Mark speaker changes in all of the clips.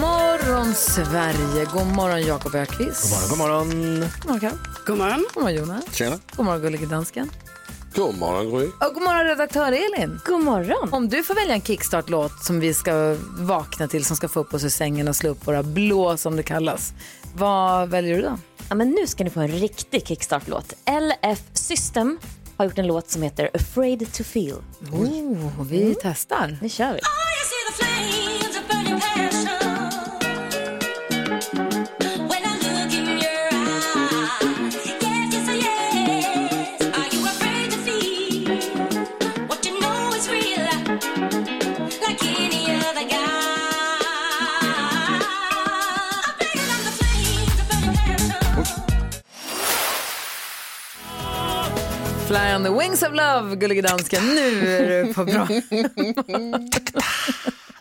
Speaker 1: morgon Sverige, god morgon Jakob Ökvist. God morgon, god morgon. God morgon, Karo. God morgon. God morgon Jonas.
Speaker 2: Tjena.
Speaker 1: God morgon gullige dansken.
Speaker 2: God morgon Gry.
Speaker 1: Och god morgon redaktör Elin. God morgon. Om du får välja en kickstart-låt som vi ska vakna till, som ska få upp oss ur sängen och slå upp våra blå som det kallas. Vad väljer du då?
Speaker 3: Ja, men nu ska ni få en riktig kickstart-låt. LF System har gjort en låt som heter Afraid to feel.
Speaker 1: Oh, vi testar.
Speaker 3: Nu kör vi.
Speaker 1: Fly on the wings of love, gullige dansken. Nu är du på bra.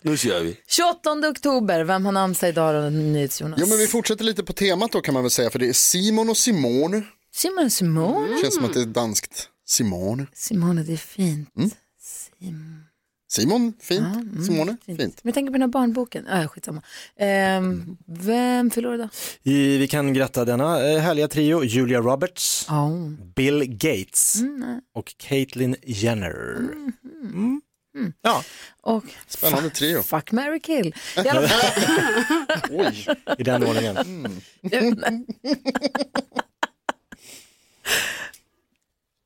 Speaker 2: Nu kör vi.
Speaker 1: 28 oktober, vem har namnsdag idag då? NyhetsJonas.
Speaker 4: Ja, men vi fortsätter lite på temat då kan man väl säga, för det är Simon och Simon.
Speaker 1: Simon Simone.
Speaker 4: Känns som att det är danskt. Simon.
Speaker 1: Simone, det är fint.
Speaker 4: Simon, fint. Simone, fint.
Speaker 1: Men jag tänker på den här barnboken. Ah, ja, skitsamma. Ehm, vem förlorar idag?
Speaker 5: I, vi kan gratta denna eh, härliga trio, Julia Roberts,
Speaker 1: Oh.
Speaker 5: Bill Gates
Speaker 1: Mm,
Speaker 5: och Caitlyn Jenner. Mm. Ja,
Speaker 1: Och
Speaker 4: Spännande trio.
Speaker 1: fuck, marry, kill. I alla fall, Mm.
Speaker 4: Oj.
Speaker 5: i den ordningen.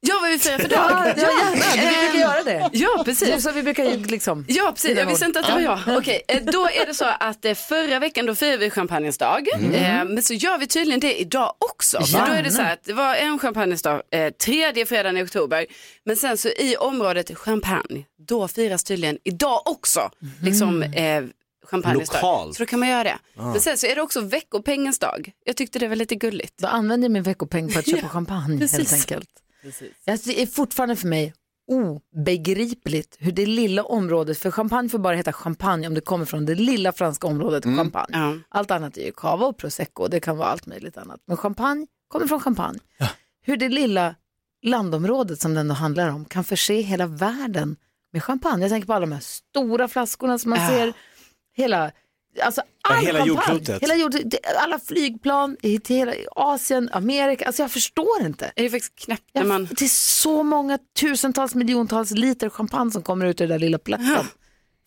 Speaker 6: Ja, vad vi firar för dag. Ehm,
Speaker 1: ja, Ehm, ja, gärna. Vi brukar göra det.
Speaker 6: Ja,
Speaker 1: Det är
Speaker 6: precis.
Speaker 1: så vi brukar ju liksom.
Speaker 6: Ja, precis. Jag visste inte att det var jag. Okej, eh, då är det så att eh, förra veckan då firade vi champagnens dag.
Speaker 1: Mm.
Speaker 6: Eh, Men så gör vi tydligen det idag också. För då är det så här att det var en champagnens dag eh, tredje fredagen i oktober. Men sen så i området champagne, då firas tydligen idag också.
Speaker 1: Mm.
Speaker 6: Liksom eh, champagnens dag.
Speaker 5: Lokalt.
Speaker 6: Så då kan man göra det. Men sen så är det också veckopengens dag. Jag tyckte det var lite gulligt.
Speaker 1: Då använder jag min veckopeng för att köpa champagne helt
Speaker 6: precis.
Speaker 1: enkelt. Alltså, det är fortfarande för mig obegripligt hur det lilla området, för champagne får bara heta champagne om det kommer från det lilla franska området champagne.
Speaker 6: Ja.
Speaker 1: Allt annat är ju cava och prosecco, det kan vara allt möjligt annat. Men champagne kommer från champagne. Hur det lilla landområdet som det ändå handlar om kan förse hela världen med champagne. Jag tänker på alla de här stora flaskorna som man ser, hela, alltså all
Speaker 5: hela
Speaker 1: champagne.
Speaker 5: jordklotet.
Speaker 1: Hela jordklotet, alla flygplan, i till hela Asien, Amerika, alltså jag förstår inte.
Speaker 6: Det är ju faktiskt knäppt när
Speaker 1: Jag,
Speaker 6: man...
Speaker 1: Det är så många tusentals miljontals liter champagne som kommer ut ur den där lilla platten.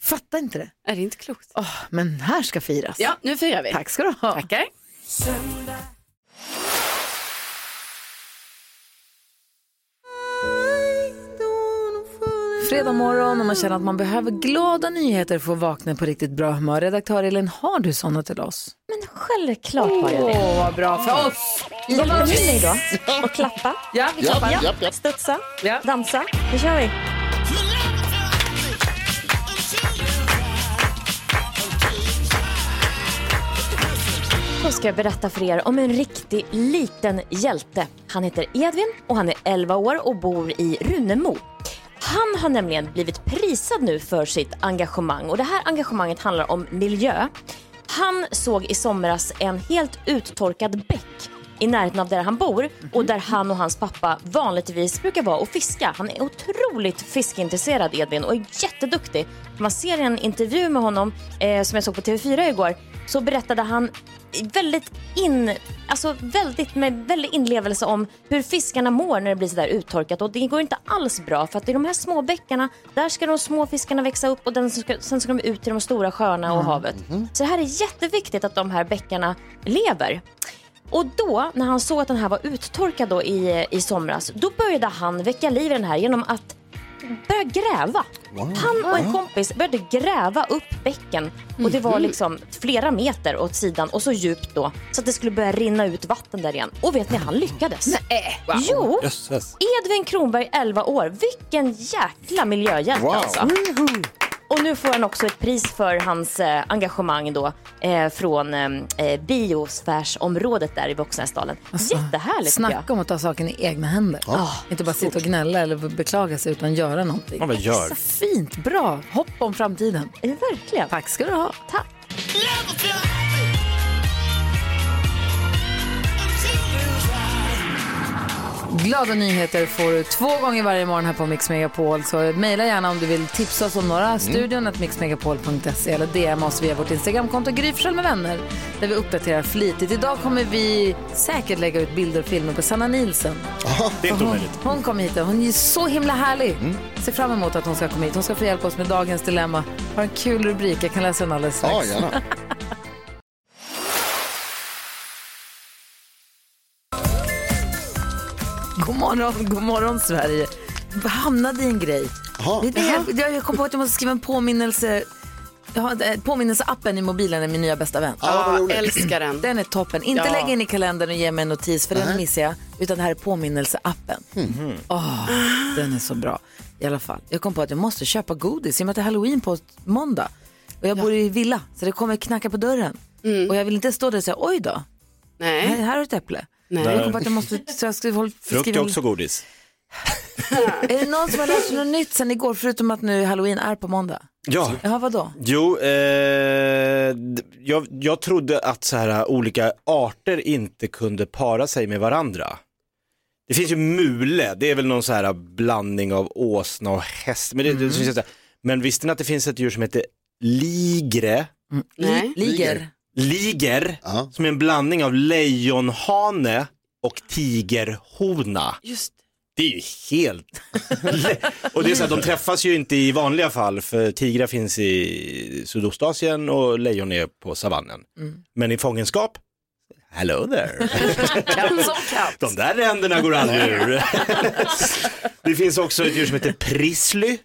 Speaker 1: Fattar inte det.
Speaker 6: Är det inte klokt?
Speaker 1: Åh, men här ska firas.
Speaker 6: Ja, nu firar vi.
Speaker 1: Tack ska du ha.
Speaker 6: Tackar.
Speaker 1: Fredag morgon och man känner att man behöver glada nyheter för att vakna på riktigt bra humör. Redaktör Elin, har du sådana till oss?
Speaker 3: Men självklart har jag det.
Speaker 1: Åh, vad bra för oss! Mm.
Speaker 3: Jag var med dig då och klappa,
Speaker 1: Ja, vi klappar.
Speaker 4: Japp, japp, japp.
Speaker 3: studsa,
Speaker 1: Ja.
Speaker 3: dansa. Nu kör vi. Då ska jag berätta för er om en riktig liten hjälte. Han heter Edvin och han är 11 år och bor i Runemo. Han har nämligen blivit prisad nu för sitt engagemang och det här engagemanget handlar om miljö. Han såg i somras en helt uttorkad bäck i närheten av där han bor och där han och hans pappa vanligtvis brukar vara och fiska. Han är otroligt fiskintresserad Edvin och är jätteduktig. Man ser i en intervju med honom eh, som jag såg på TV4 igår så berättade han väldigt in, alltså väldigt med väldigt inlevelse om hur fiskarna mår när det blir sådär uttorkat och det går inte alls bra för att i de här små bäckarna där ska de små fiskarna växa upp och den ska, sen ska de ut till de stora sjöarna och havet. Så det här är jätteviktigt att de här bäckarna lever. Och då, när han såg att den här var uttorkad då i, i somras, då började han väcka liv i den här genom att börja gräva. Han och en kompis började gräva upp bäcken och det var liksom flera meter åt sidan och så djupt då så att det skulle börja rinna ut vatten där igen. Och vet ni, han lyckades. Nej, Jo,
Speaker 5: Jösses.
Speaker 3: Edvin Kronberg, 11 år. Vilken jäkla miljöhjälte
Speaker 4: Wow.
Speaker 3: alltså. Och nu får han också ett pris för hans eh, engagemang då eh, från eh, biosfärsområdet där i Voxnäsdalen. Jättehärligt tycker jag.
Speaker 1: Alltså, Snacka om att ta saken i egna händer. Inte bara sitta och gnälla eller beklaga sig utan göra någonting.
Speaker 5: Ja, men gör.
Speaker 1: Så fint, bra, hopp om framtiden.
Speaker 3: Eh, Verkligen.
Speaker 1: Tack ska du ha.
Speaker 3: Tack.
Speaker 1: Glada nyheter får du två gånger varje morgon här på Mix Megapol. Så mejla gärna om du vill tipsa oss om några.
Speaker 5: Mm.
Speaker 1: Studion att mixmegapol.se eller DM oss via vårt Instagramkonto Gry Forssell med vänner. Där vi uppdaterar flitigt. Idag kommer vi säkert lägga ut bilder och filmer på Sanna Nilsen.
Speaker 5: Det är inte
Speaker 1: Hon,
Speaker 5: omöjligt. Mm.
Speaker 1: hon kom hit och hon är så himla härlig. Ser fram emot att hon ska komma hit. Hon ska få hjälpa oss med dagens dilemma. Har en kul rubrik. Jag kan läsa den alldeles strax.
Speaker 4: Ja, gärna.
Speaker 1: God morgon, god morgon Sverige. Jag hamnade i en grej.
Speaker 4: Jaha.
Speaker 1: Det, det, jag, jag kom på att jag måste skriva en påminnelse. Jag har eh, påminnelseappen i mobilen är min nya bästa vän.
Speaker 4: Ja, vad roligt.
Speaker 6: älskar den.
Speaker 1: Den är toppen. Inte
Speaker 6: Ja.
Speaker 1: lägga in i kalendern och ge mig en notis för den missar jag. Utan det här är påminnelseappen.
Speaker 4: Mhm.
Speaker 1: Åh, den är så bra. I alla fall. Jag kom på att jag måste köpa godis i och med att det är halloween på måndag. Och jag bor i villa så det kommer knacka på dörren. Och jag vill inte stå där och säga oj då, här,
Speaker 6: Mm. Nej.
Speaker 1: här har du ett äpple.
Speaker 6: Nej.
Speaker 1: Jag kom på att jag måste så jag ska, hålla-
Speaker 5: Frukt är
Speaker 1: skriva-
Speaker 5: också godis.
Speaker 1: är det någon som har lärt sig något nytt sen igår förutom att nu halloween är på måndag?
Speaker 5: Ja.
Speaker 1: Ja, vadå?
Speaker 5: Jo, eh, d- jag, jag trodde att så här, olika arter inte kunde para sig med varandra. Det finns ju mule, det är väl någon så här blandning av åsna och häst. Men, det,
Speaker 1: Mm.
Speaker 5: det, så, så här. men visste ni att det finns ett djur som heter ligre?
Speaker 6: Nej.
Speaker 1: Ligger.
Speaker 5: Liger,
Speaker 4: Ja.
Speaker 5: som är en blandning av lejonhane och tigerhona.
Speaker 6: Just
Speaker 5: Det är ju helt... och det är så här, de träffas ju inte i vanliga fall för tigrar finns i Sydostasien och lejon är på savannen. Men i fångenskap, hello there.
Speaker 1: Katt som katt.
Speaker 5: De där ränderna går aldrig ur. det finns också ett djur som heter prisly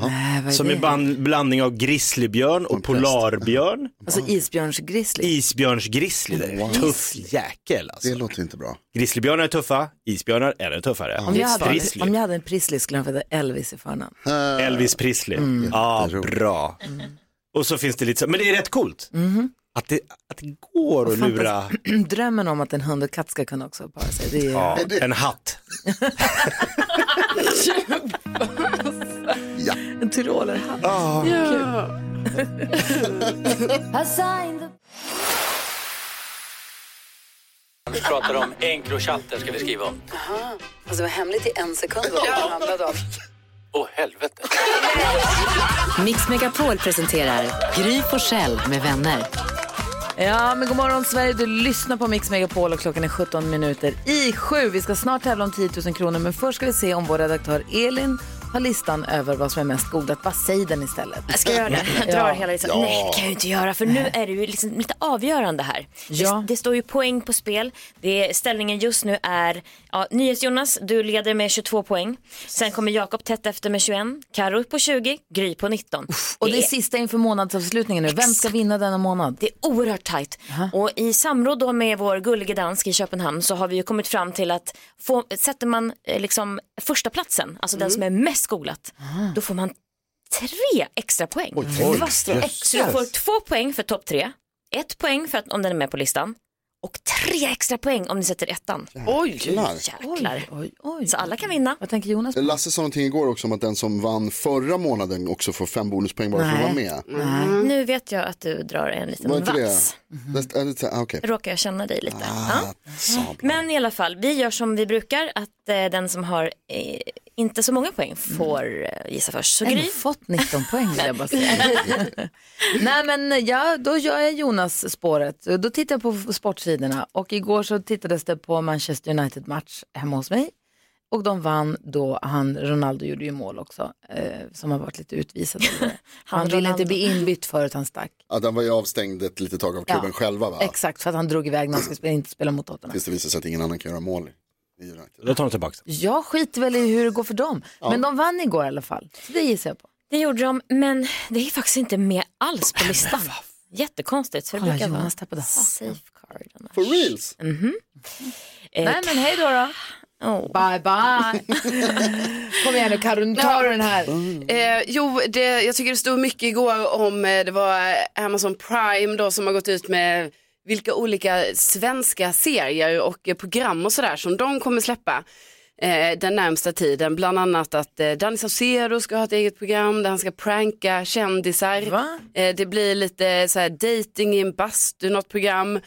Speaker 1: Nej, vad är
Speaker 5: som
Speaker 1: det?
Speaker 5: är en blandning av grizzlybjörn och polarbjörn.
Speaker 1: Alltså isbjörnsgrisli.
Speaker 5: Isbjörnsgrisly, det är en tuff jäkel alltså.
Speaker 4: Det låter inte bra.
Speaker 5: Grizzlybjörnar är tuffa, isbjörnar är ännu tuffare.
Speaker 1: Om jag, hade,
Speaker 5: Grizzly.
Speaker 1: om jag hade en Prisley skulle han heta Elvis i förnamn.
Speaker 5: Elvis Presley.
Speaker 4: Mm.
Speaker 5: Ja, bra.
Speaker 1: Mm.
Speaker 5: Och så finns det lite så, men det är rätt coolt. Att, det, att det går att lura
Speaker 1: Mhm. Drömmen om att en hund och katt ska kunna också para sig. Det är,
Speaker 5: ja, en hatt.
Speaker 1: En tyrolerhatt.
Speaker 7: Vi pratar om Encrochatten ska vi skriva om.
Speaker 1: Alltså det var hemligt i en sekund vad det handlade om.
Speaker 7: Åh helvete.
Speaker 8: Mix Megapol presenterar Gry Forssell med vänner.
Speaker 1: Ja, men god morgon Sverige. Du lyssnar på Mix Megapol och klockan är 17 minuter i sju. Vi ska snart tävla om 10 000 kronor, men först ska vi se om vår redaktör Elin har listan över vad som är mest godat. Bara säg den istället.
Speaker 3: Jag ska göra det. Jag drar
Speaker 1: Ja.
Speaker 3: hela liksom. Nej, det kan jag ju inte göra för nu är det ju liksom lite avgörande här.
Speaker 1: Ja.
Speaker 3: Det, det står ju poäng på spel. Det är, ställningen just nu är, ja, NyhetsJonas, du leder med 22 poäng. Sen kommer Jakob tätt efter med 21, Karo på 20, Gry på 19.
Speaker 1: Och det är sista inför månadsavslutningen nu. Vem ska vinna denna månad?
Speaker 3: Det är oerhört tajt. Och i samråd då med vår gullige dansk i Köpenhamn så har vi ju kommit fram till att få, sätter man eh, liksom första platsen, alltså
Speaker 1: Mm.
Speaker 3: den som är mest googlat, då får man tre extra poäng.
Speaker 1: Mm.
Speaker 3: Det var strax. Så du får två poäng för topp tre, ett poäng för att, om den är med på listan och tre extra poäng om ni sätter ettan.
Speaker 6: Oj.
Speaker 4: Klar.
Speaker 3: Jäklar.
Speaker 1: Oj, oj.
Speaker 3: Så alla kan vinna.
Speaker 1: Vad tänker Jonas?
Speaker 4: Lasse sa någonting igår också om att den som vann förra månaden också får fem bonuspoäng bara för att
Speaker 1: Nej.
Speaker 4: vara med.
Speaker 3: Mm.
Speaker 4: Mm.
Speaker 3: Nu vet jag att du drar en liten
Speaker 4: Var inte det?
Speaker 3: vals.
Speaker 4: Näst- äh, lite- ah, Okej.
Speaker 3: Råkar jag känna dig lite.
Speaker 4: Ah,
Speaker 3: Ja. Men i alla fall, vi gör som vi brukar att eh, den som har eh, inte så många poäng får eh, gissa först. Så
Speaker 1: Jag har
Speaker 3: Gry,
Speaker 1: Mm. ändå fått 19 poäng vill jag bara säga. Nej men ja, då gör jag Jonas spåret. Då tittar jag på sportsidorna och igår så tittades det på Manchester United match hemma hos mig. Och de vann då, han, Ronaldo gjorde ju mål också, eh, som har varit lite utvisad. eller vad det är. Han,
Speaker 3: Han
Speaker 1: ville inte
Speaker 3: Ronaldo.
Speaker 1: bli inbytt förut han stack.
Speaker 4: Ja, den var ju avstängd ett litet tag av klubben
Speaker 1: Ja.
Speaker 4: själva va?
Speaker 1: Exakt, för att han drog iväg när han ska spela, inte spela mot Tottenham.
Speaker 4: Tills det visade sig att ingen annan kan göra mål i United.
Speaker 5: Då tar de tillbaka den.
Speaker 1: Jag skiter väl i hur det går för dem. Men de vann igår i alla fall, så det gissar jag på.
Speaker 3: det gjorde de, men det är faktiskt inte med alls på listan. Jättekonstigt, för det
Speaker 1: Kolla,
Speaker 3: brukar vara
Speaker 1: Jonas tappade hakan.
Speaker 3: safe card. annars.
Speaker 4: For reals?
Speaker 3: Eh,
Speaker 1: Nej men hej då då. Bye bye. Kom igen nu Karin, tar du den här?
Speaker 4: Mm.
Speaker 6: Eh, jo, det, jag tycker det stod mycket igår om, eh, det var Amazon Prime då som har gått ut med vilka olika svenska serier och eh, program och sådär som de kommer släppa eh, den närmsta tiden. Bland annat att eh, Danny Saucedo ska ha ett eget program där han ska pranka kändisar. Eh, det blir lite så här dating i en bastu, något program.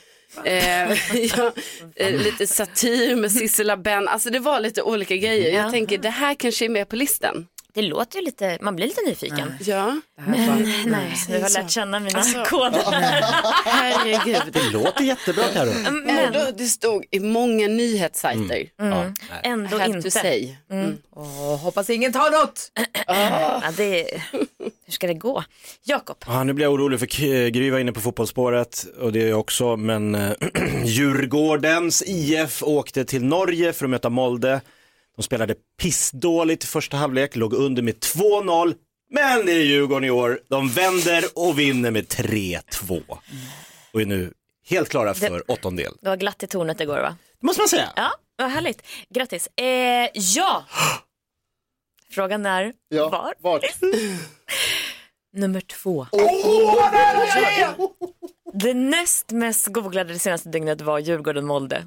Speaker 6: Eh, ja, eh, lite satir med Sissela Benn, alltså det var lite olika grejer. Jag
Speaker 3: Ja.
Speaker 6: tänker det här kanske är med på listan.
Speaker 3: Det låter ju lite, man blir lite nyfiken.
Speaker 6: Ja. Alltså,
Speaker 3: Men nej, Alltså, du har lärt känna mina koder.
Speaker 6: Herregud.
Speaker 5: Det låter jättebra Carro.
Speaker 6: Ändå, det stod i många nyhetssajter.
Speaker 3: Mm. Ändå
Speaker 6: Have to
Speaker 3: inte.
Speaker 6: say.
Speaker 3: Mm.
Speaker 1: Åh, hoppas ingen tar något.
Speaker 3: Ja, det är... Hur ska det gå? Jakob,
Speaker 5: Ja, nu blir jag orolig för K- Gry var inne på fotbollsspåret och det är jag också, men eh, Djurgårdens IF åkte till Norge för att möta Molde. De spelade pissdåligt i första halvlek, låg under med 2-0, men det är Djurgården i år. De vänder och vinner med 3-2 och är nu helt klara för åttondel.
Speaker 3: det var glatt i tornet igår va?
Speaker 5: Det måste man säga.
Speaker 3: Ja, vad härligt. Grattis. Eh, ja! Frågan är var? Nummer två. Det näst mest googlade det senaste dygnet var Djurgården-Molde.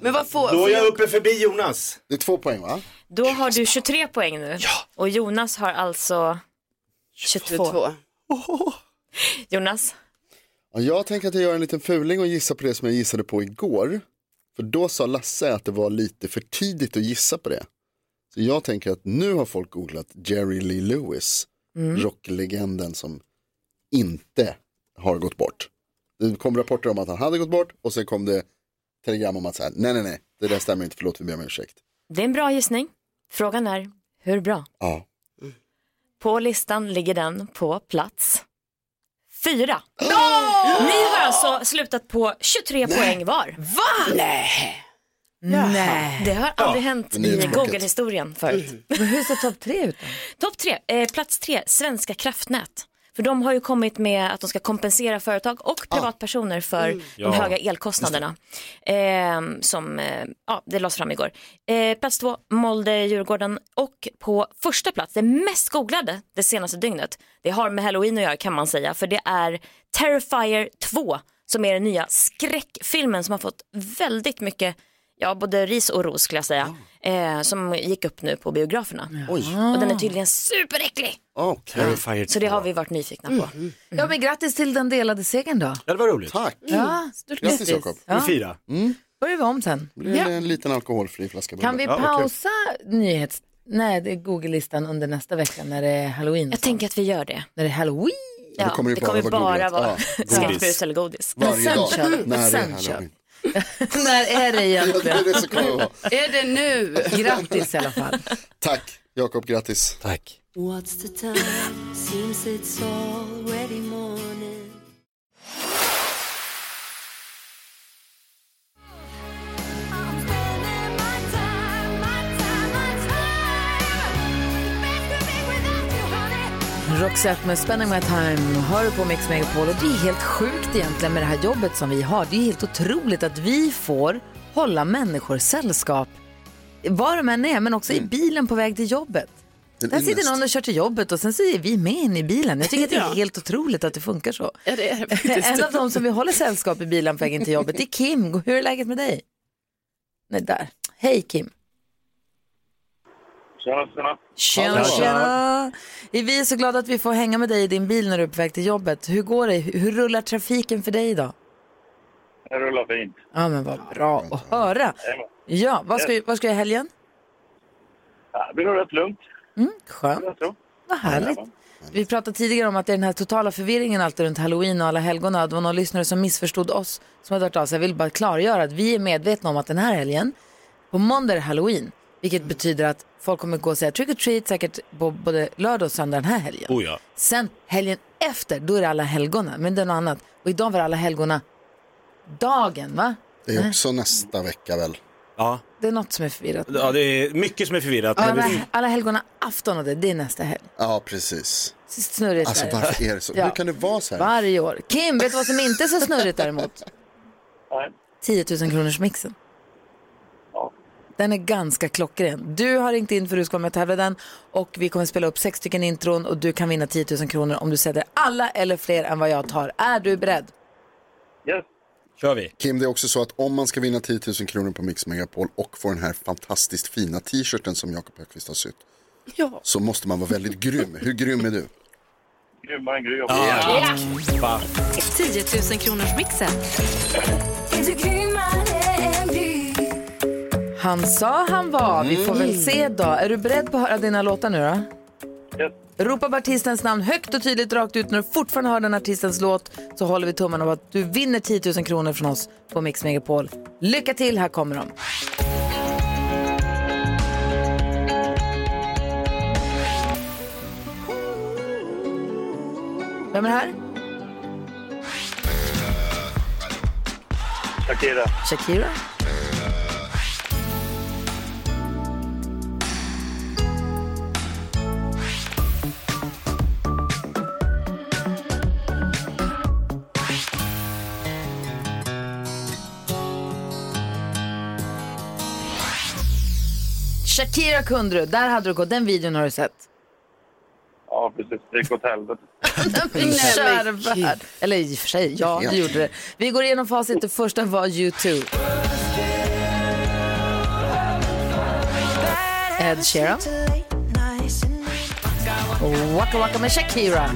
Speaker 6: Men vad får...
Speaker 5: Då är jag uppe förbi Jonas.
Speaker 4: Det är två poäng va?
Speaker 3: Då har du 23 poäng nu och Jonas har alltså 22.
Speaker 6: 22.
Speaker 3: Jonas,
Speaker 4: Ja, jag tänker att jag gör en liten fuling och gissar på det som jag gissade på igår. För då sa Lasse att det var lite för tidigt att gissa på det. Så jag tänker att nu har folk googlat Jerry Lee Lewis,
Speaker 9: Mm.
Speaker 8: Mm.
Speaker 4: rocklegenden som inte har gått bort. Det kom rapporter om att han hade gått bort och sen kom det telegram om att så här, nej, nej, nej, det där stämmer inte, förlåt, vi ber om ursäkt.
Speaker 3: det är en bra gissning. Frågan är hur bra?
Speaker 4: Ja.
Speaker 3: På listan ligger den på plats fyra. Ni har alltså slutat på 23 poäng var.
Speaker 1: Nej.
Speaker 3: Det har aldrig hänt
Speaker 4: Det är
Speaker 3: i
Speaker 4: tråkigt.
Speaker 3: Google-historien förut.
Speaker 1: Men hur ser topp tre ut då?
Speaker 3: Topp tre, eh, plats tre, Svenska kraftnät. För de har ju kommit med att de ska kompensera företag och privatpersoner för de
Speaker 5: Ja.
Speaker 3: höga elkostnaderna. Eh, som, eh, ja, det lades fram igår. Eh, plats två, Molde, Djurgården och på första plats, det mest googlade det senaste dygnet. Det har med halloween att göra kan man säga, för det är Terrifier 2 som är den nya skräckfilmen som har fått väldigt mycket Ja, både ris och ros skulle jag säga. Eh, som gick upp nu på biograferna.
Speaker 4: Oj, Ah.
Speaker 3: Och den är tydligen superäcklig.
Speaker 4: okej, Mm.
Speaker 5: Terrifier
Speaker 3: Så det har vi varit nyfikna på.
Speaker 1: Ja men grattis till den delade segern då.
Speaker 5: Mm. Ja, det var roligt.
Speaker 4: tack.
Speaker 1: Ja, stort
Speaker 4: Grattis Jakob. Mm.
Speaker 5: Vi firar.
Speaker 1: Börjar vi om sen.
Speaker 4: Det blir en liten alkoholfri flaska bubbla.
Speaker 1: Kan vi
Speaker 5: Ja, okej.
Speaker 1: pausa nyhets... Nej, det är Google-listan under nästa vecka när det är halloween.
Speaker 3: Jag tänker att vi gör det.
Speaker 1: När det är halloween.
Speaker 3: Ja,
Speaker 4: då kommer det
Speaker 3: det
Speaker 4: bara
Speaker 3: kommer
Speaker 4: vara
Speaker 3: bara
Speaker 4: googlat.
Speaker 3: vara
Speaker 4: Ja, godis.
Speaker 3: skräckbus eller godis.
Speaker 4: Varje dag,
Speaker 1: Sen kör vi.
Speaker 4: när det är
Speaker 1: Sen kör
Speaker 4: halloween.
Speaker 1: när är det
Speaker 4: Ja, det
Speaker 1: egentligen?
Speaker 4: är det som kommer att vara.
Speaker 6: Är det nu?
Speaker 1: Grattis i alla fall.
Speaker 4: Tack, Jakob, grattis.
Speaker 5: Tack.
Speaker 1: Roxette med Spending My Time hör du på Mix Megapol och det är helt sjukt egentligen med det här jobbet som vi har. Det är helt otroligt att vi får hålla människor sällskap var de än är, men också
Speaker 5: Mm.
Speaker 1: i bilen på väg till jobbet.
Speaker 4: Den
Speaker 1: Där sitter
Speaker 4: yngst.
Speaker 1: någon och kör till jobbet och sen så är vi med in i bilen. Jag tycker att det är helt otroligt att det funkar så.
Speaker 6: Ja, det är det
Speaker 1: En av
Speaker 6: faktiskt. typ-
Speaker 1: de som vi håller sällskap i bilen på vägen till jobbet det är Kim. Hur är läget med dig? Nej, där. Hej Kim. Tjena, tjena. Vi är så glada att vi får hänga med dig i din bil när du är på väg till jobbet. Hur går det? Hur rullar trafiken för dig idag?
Speaker 10: Det rullar fint.
Speaker 1: Ja, men vad bra att höra. Ja, vad ska, vad ska jag i helgen?
Speaker 10: Ja, Det blir rätt lugnt,
Speaker 1: Mm, Skönt.
Speaker 10: jag tror.
Speaker 1: Vad härligt. Vi pratade tidigare om att det är den här totala förvirringen alltid runt halloween och alla helgona. Det var någon lyssnare som missförstod oss som hade hört av sig. Jag vill bara klargöra att vi är medvetna om att den här helgen, på måndag är det halloween. Vilket betyder att folk kommer gå och säga trick or treat säkert på både lördag och söndag den här helgen.
Speaker 5: Oh ja.
Speaker 1: Sen helgen efter, då är det alla helgona. Men det är något annat. Och idag var det alla helgona dagen, va?
Speaker 4: Det är också nästa vecka väl?
Speaker 5: Ja.
Speaker 1: Det är något som är förvirrat.
Speaker 5: ja, det är mycket som är förvirrat. men
Speaker 1: Alla,
Speaker 5: vi-
Speaker 1: alla helgona afton och det, det är nästa helg.
Speaker 4: Ja, precis.
Speaker 1: Snurrigt
Speaker 4: Alltså
Speaker 1: där.
Speaker 4: varför är det så?
Speaker 1: Ja.
Speaker 4: Hur kan det vara så här?
Speaker 1: Varje år. Kim, vet du vad som inte är så snurrigt däremot? 10 000 kronors mixen.
Speaker 10: Ja.
Speaker 1: Den är ganska klockren. Du har ringt in för att du ska vara med och tävla i den och vi kommer spela upp sex stycken intron och du kan vinna 10 000 kronor om du sätter alla eller fler än vad jag tar. Är du beredd?
Speaker 5: Kör vi.
Speaker 9: Kim, det är också så att om man ska vinna 10 000 kronor på Mix Megapol och få den här fantastiskt fina t-shirten som Jakob Högqvist har sytt
Speaker 6: Ja.
Speaker 9: så måste man vara väldigt grym. Hur grym är du?
Speaker 11: Grymmare än grym.
Speaker 9: Ja.
Speaker 12: 10 000 kronors mixen.
Speaker 1: Han sa han var. Vi får väl se då. Är du beredd på att höra dina låtar nu då? Ropa på artistens namn högt och tydligt rakt ut när du fortfarande hör den artistens låt så håller vi tummarna på att du vinner 10 000 kronor från oss på Mix Megapol. Lycka till, här kommer de. Vem är det här?
Speaker 11: Shakira.
Speaker 1: Shakira? Shakira kunde du, där hade du gått, den videon har du sett.
Speaker 11: Ja, precis. Det gick åt helvete.
Speaker 1: Min kära värld. Eller i och för sig, ja
Speaker 11: Ja.
Speaker 1: det gjorde det. Vi går igenom facit, det första var U2. Ed Sheeran. Waka Waka med Shakira.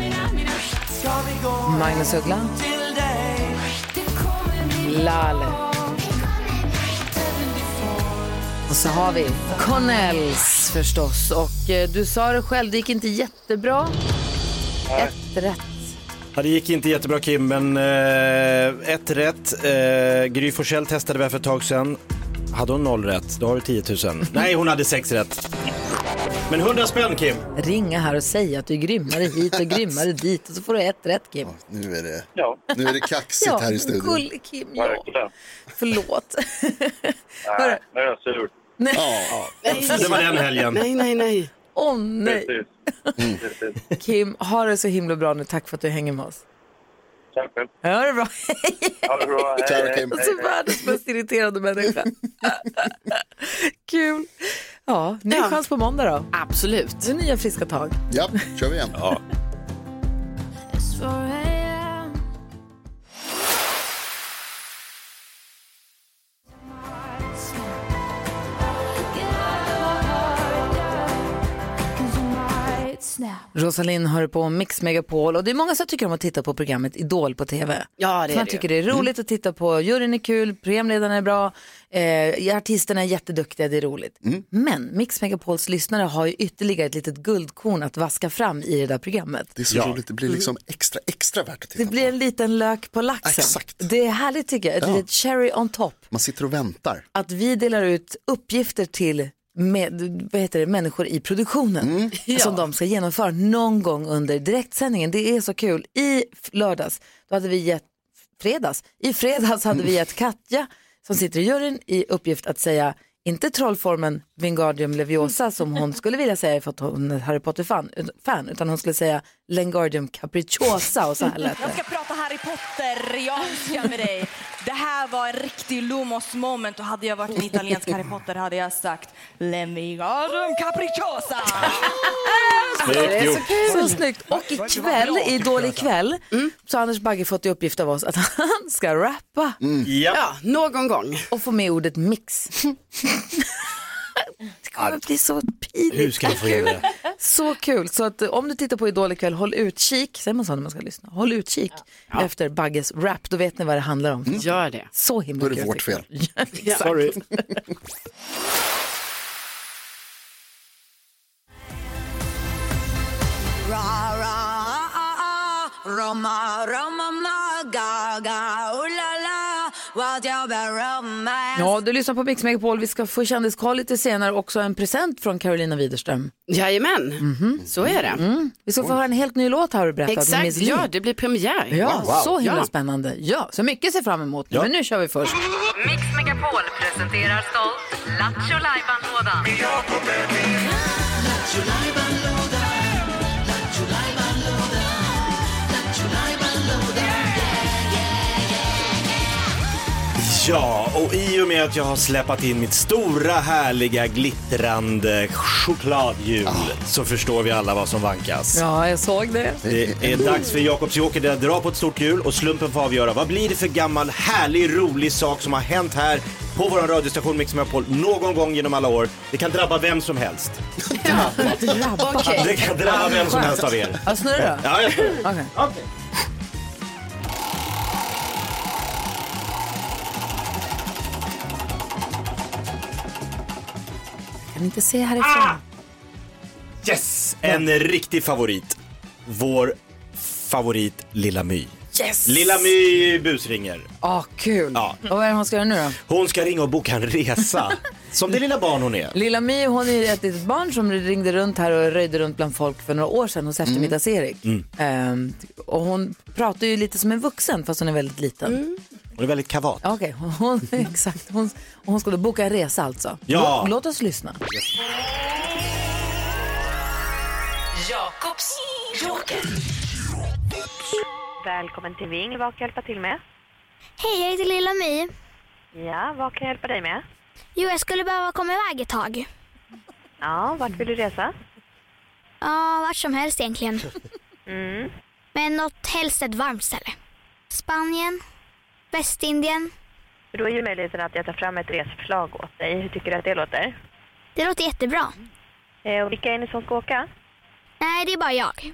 Speaker 1: Magnus Uggla. Lale. Och så har vi Connells förstås. Och eh, du sa det själv, det gick inte jättebra. Ett rätt.
Speaker 5: Ja, det gick inte jättebra Kim, men eh, ett rätt. Eh, Gry Forssell testade vi här för ett tag sedan. Hade hon noll rätt, då har du 10 000. Nej, hon hade sex rätt. Men 100 spänn Kim.
Speaker 1: Ringa här och säga att du är grymmare hit och grymmare dit och så får du ett rätt Kim.
Speaker 9: Nu är det, nu är det kaxigt
Speaker 1: Ja,
Speaker 9: här i studion.
Speaker 1: gull, Kim, ja.
Speaker 11: Verkligen.
Speaker 1: Förlåt.
Speaker 11: Nej, nu är jag sur.
Speaker 1: Nej.
Speaker 9: Ja,
Speaker 6: Nej, nej, nej.
Speaker 1: Åh nej.
Speaker 11: Precis.
Speaker 9: Mm.
Speaker 11: Precis.
Speaker 1: Kim, ha det så himla bra nu. Tack för att du hänger med oss.
Speaker 11: Tack själv.
Speaker 1: Ha det bra.
Speaker 11: Ha det bra. Hej, hej.
Speaker 1: Alltså världens mest irriterande människa. Kul. Ja, ny chans på måndag då.
Speaker 6: Absolut.
Speaker 1: Det är nya friska tag.
Speaker 9: Ja, kör vi igen.
Speaker 1: Rosalind hör på Mix Megapol och det är många som tycker om att titta på programmet Idol på TV.
Speaker 6: Ja, det är
Speaker 1: Man
Speaker 6: det
Speaker 1: tycker det
Speaker 6: ju.
Speaker 1: är roligt att titta på, juryn är kul, programledarna är bra, eh, artisterna är jätteduktiga, det är roligt.
Speaker 9: Mm.
Speaker 1: Men Mix Megapols lyssnare har ju ytterligare ett litet guldkorn att vaska fram i det där programmet.
Speaker 9: Det är så roligt, det blir liksom extra, extra värt att titta.
Speaker 1: Det blir en liten lök på laxen. Det är härligt tycker jag, ett
Speaker 9: Ja.
Speaker 1: litet cherry on top.
Speaker 9: Man sitter och väntar.
Speaker 1: Att vi delar ut uppgifter till med, vad heter det, människor i produktionen som de ska genomföra någon gång under direktsändningen. Det är så kul. I f- lördags, då hade vi gett, fredags, i fredags hade vi gett Katja som sitter i juryn i uppgift att säga inte trollformen Wingardium Leviosa som hon skulle vilja säga för att hon är Harry Potter-fan, fan, utan hon skulle säga Lengardium Capricciosa och så här lät det.
Speaker 13: Jag ska prata Harry Potter, jag önskar med dig. Det här var en riktig Lumos moment och hade jag varit en italiensk Harry Potter hade jag sagt Lemigardum capricciosa.
Speaker 1: Det är så
Speaker 13: gjort.
Speaker 1: kul. Så snyggt. Och ikväll, i Idol ikväll,
Speaker 6: Mm.
Speaker 1: så har Anders Bagge fått i uppgift av oss att han ska rappa.
Speaker 9: Mm.
Speaker 5: Ja.
Speaker 6: någon gång.
Speaker 1: Och få med ordet mix. det kommer bli så pinligt.
Speaker 5: Hur ska vi få in det?
Speaker 1: Så kul. Så att eh, om du tittar på Idol ikväll, håll utkik, säger man så när man ska lyssna, håll utkik efter Bagges rap. Då vet ni vad det handlar om.
Speaker 6: Mm. Gör det.
Speaker 1: Så himla
Speaker 9: Då är det
Speaker 1: kul,
Speaker 9: vårt
Speaker 1: tycker jag.
Speaker 9: fel.
Speaker 1: Ja, exakt.
Speaker 9: Sorry.
Speaker 13: Ra, ra, ah, ah, ah. Roma, roma, ma, ga, ga, ooh la, la, vad jag berömmer.
Speaker 1: Ja, du lyssnar på Mix Megapol. Vi ska få kändiskoll lite senare. Också en present från Carolina Widerström.
Speaker 6: Jajamän,
Speaker 3: Mhm.
Speaker 6: så är det.
Speaker 1: Mm. Vi ska få höra en helt ny låt har du berättat. med Miss
Speaker 6: Exakt,
Speaker 1: Li.
Speaker 6: ja det blir premiär.
Speaker 1: Ja, så himla
Speaker 6: Ja.
Speaker 1: spännande. Ja, så mycket att se fram emot nu.
Speaker 6: Ja.
Speaker 1: Men nu kör vi först.
Speaker 12: Mix Megapol presenterar stolt Lattjo Lajban-lådan.
Speaker 5: Ja, och i och med att jag har släpat in mitt stora härliga glittrande chokladhjul så förstår vi alla vad som vankas.
Speaker 1: Ja, jag såg det.
Speaker 5: Det är dags för Jakobs Joker att dra på ett stort hjul och slumpen får avgöra. Vad blir det för gammal härlig rolig sak som har hänt här på vår radiostation Mix Megapol någon gång genom alla år? Det kan drabba vem som helst. Det kan drabba vem som helst av er.
Speaker 1: Ja, snurra då.
Speaker 5: Ja, jag snurrar.
Speaker 1: Okej. Jag kan inte se härifrån.
Speaker 5: Yes! En riktig favorit. Vår favorit Lilla My.
Speaker 1: Yes!
Speaker 5: Lilla My busringer.
Speaker 1: Ah, kul.
Speaker 5: Ja.
Speaker 1: Och vad är det hon ska göra nu då?
Speaker 5: Hon ska ringa och boka en resa. Som det lilla barn hon är.
Speaker 1: Lilla My, hon är ju ett litet barn som ringde runt här och röjde runt bland folk för några år sedan hos eftermiddags-Erik.
Speaker 5: Mm.
Speaker 1: Ehm, och hon pratar ju lite som en vuxen fast hon är väldigt liten.
Speaker 5: Mm. Hon är väldigt kavat.
Speaker 1: Okej, hon, exakt. Hon, hon ska då boka en resa alltså.
Speaker 5: Ja.
Speaker 1: Låt, låt oss lyssna.
Speaker 8: Jakobs Joker.
Speaker 13: Välkommen till Ving. Vad kan jag hjälpa till med?
Speaker 14: Hej, jag heter Lilla My.
Speaker 13: Ja, vad kan jag hjälpa dig med?
Speaker 14: Jo, jag skulle behöva komma iväg ett tag.
Speaker 13: Ja, vart vill du resa?
Speaker 14: Ja, vart som helst egentligen.
Speaker 13: Mm.
Speaker 14: Men något helst ett varmt ställe. Spanien, Västindien.
Speaker 13: Då är ju möjligheten att jag tar fram ett resförslag åt dig. Hur tycker du att det låter?
Speaker 14: Det låter jättebra.
Speaker 13: Eh, och vilka är ni som ska åka?
Speaker 14: Nej, det är bara jag.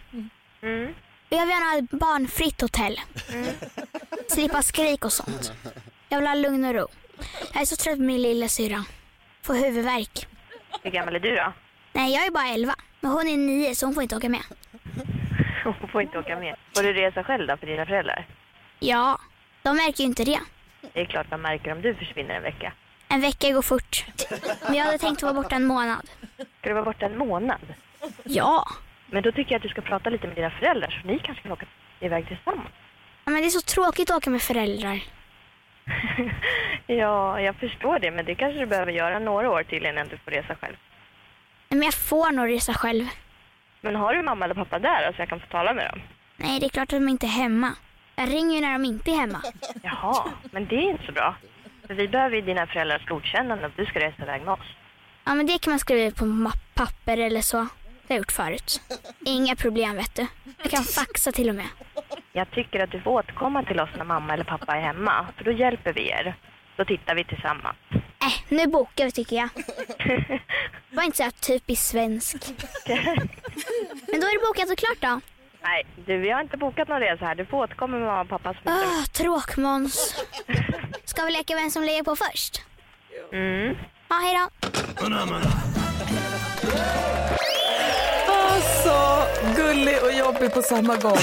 Speaker 13: Mm.
Speaker 14: Jag vill gärna ha ett barnfritt hotell. Slippa skrik och sånt. Jag vill ha lugn och ro. Jag är så trött på min lilla syra. Får huvudvärk.
Speaker 13: Hur gammal är du då?
Speaker 14: Nej, jag är bara 11. Men hon är 9 så hon får inte åka med.
Speaker 13: Hon får inte åka med. Får du resa själv då för dina föräldrar?
Speaker 14: Ja, de märker ju inte det.
Speaker 13: Det är klart man märker om du försvinner en vecka.
Speaker 14: En vecka går fort. Men jag hade tänkt vara borta en månad.
Speaker 13: Ska du vara borta en månad?
Speaker 14: Ja.
Speaker 13: Men då tycker jag att du ska prata lite med dina föräldrar så ni kanske kan åka iväg tillsammans.
Speaker 14: Ja, Men det är så tråkigt att åka med föräldrar.
Speaker 13: Ja, jag förstår det, men det kanske du behöver göra några år till innan du får resa själv.
Speaker 14: Men jag får nog resa själv.
Speaker 13: Men har du mamma eller pappa där då, så jag kan få tala med dem?
Speaker 14: Nej, det är klart att de inte är hemma. Jag ringer ju när de inte är hemma.
Speaker 13: Jaha, men det är inte så bra. För vi behöver ju dina föräldrars godkännande om du ska resa iväg med oss.
Speaker 14: Ja, men det kan man skriva på ma- papper eller så. Det har jag gjort förut. Inga problem, vet du. Jag kan faxa till och med.
Speaker 13: Jag tycker att du får återkomma till oss när mamma eller pappa är hemma, för då hjälper vi er. Då tittar vi tillsammans.
Speaker 14: Äh, nu bokar vi tycker jag. Var inte så här typiskt svensk. Men då är det bokat och klart då.
Speaker 13: Nej, du, vi har inte bokat någon resa här. Du får återkomma med mamma och pappa. som-
Speaker 14: Ah, tråkmåns. Ska vi leka vem som lägger på först?
Speaker 13: Mm.
Speaker 14: Ja, hej då.
Speaker 1: Alltså, gullig och jobbig på samma gång.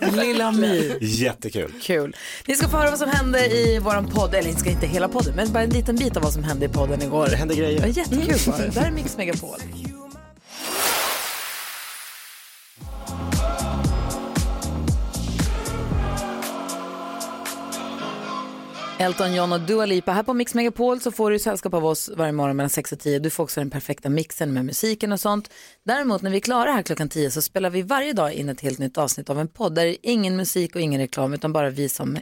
Speaker 1: Lilla My.
Speaker 5: Jättekul.
Speaker 1: Kul. Ni ska få höra vad som hände i vår podd, eller ni ska inte hela podden, men bara en liten bit av vad som hände i podden igår.
Speaker 5: Det hände grejer. Mm.
Speaker 1: Ja, jättekul var det. Det här är Mix Megapol. Elton John och Dua Lipa. Här på Mix Megapol så får du sällskap av oss varje morgon mellan 6 och 10. Du får också den perfekta mixen med musiken och sånt. Däremot när vi är klara här klockan 10 så spelar vi varje dag in ett helt nytt avsnitt av en podd där det är ingen musik och ingen reklam utan bara vi som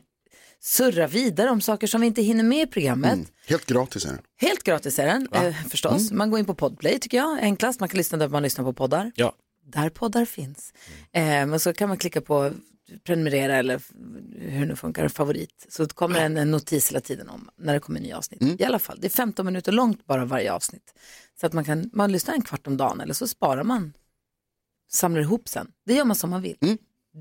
Speaker 1: surrar vidare om saker som vi inte hinner med i programmet.
Speaker 9: Helt gratis är den.
Speaker 1: Helt gratis är den eh, förstås. Man går in på Podplay tycker jag, enklast. Man kan lyssna där man lyssnar på poddar.
Speaker 5: Ja.
Speaker 1: Där poddar finns. Eh, men så kan man klicka på prenumerera eller f- hur det nu funkar, favorit. Så kommer en, en notis hela tiden om när det kommer nya avsnitt. I alla fall, det är 15 minuter långt bara varje avsnitt. Så att man kan, man lyssnar en kvart om dagen eller så sparar man, samlar ihop sen. Det gör man som man vill.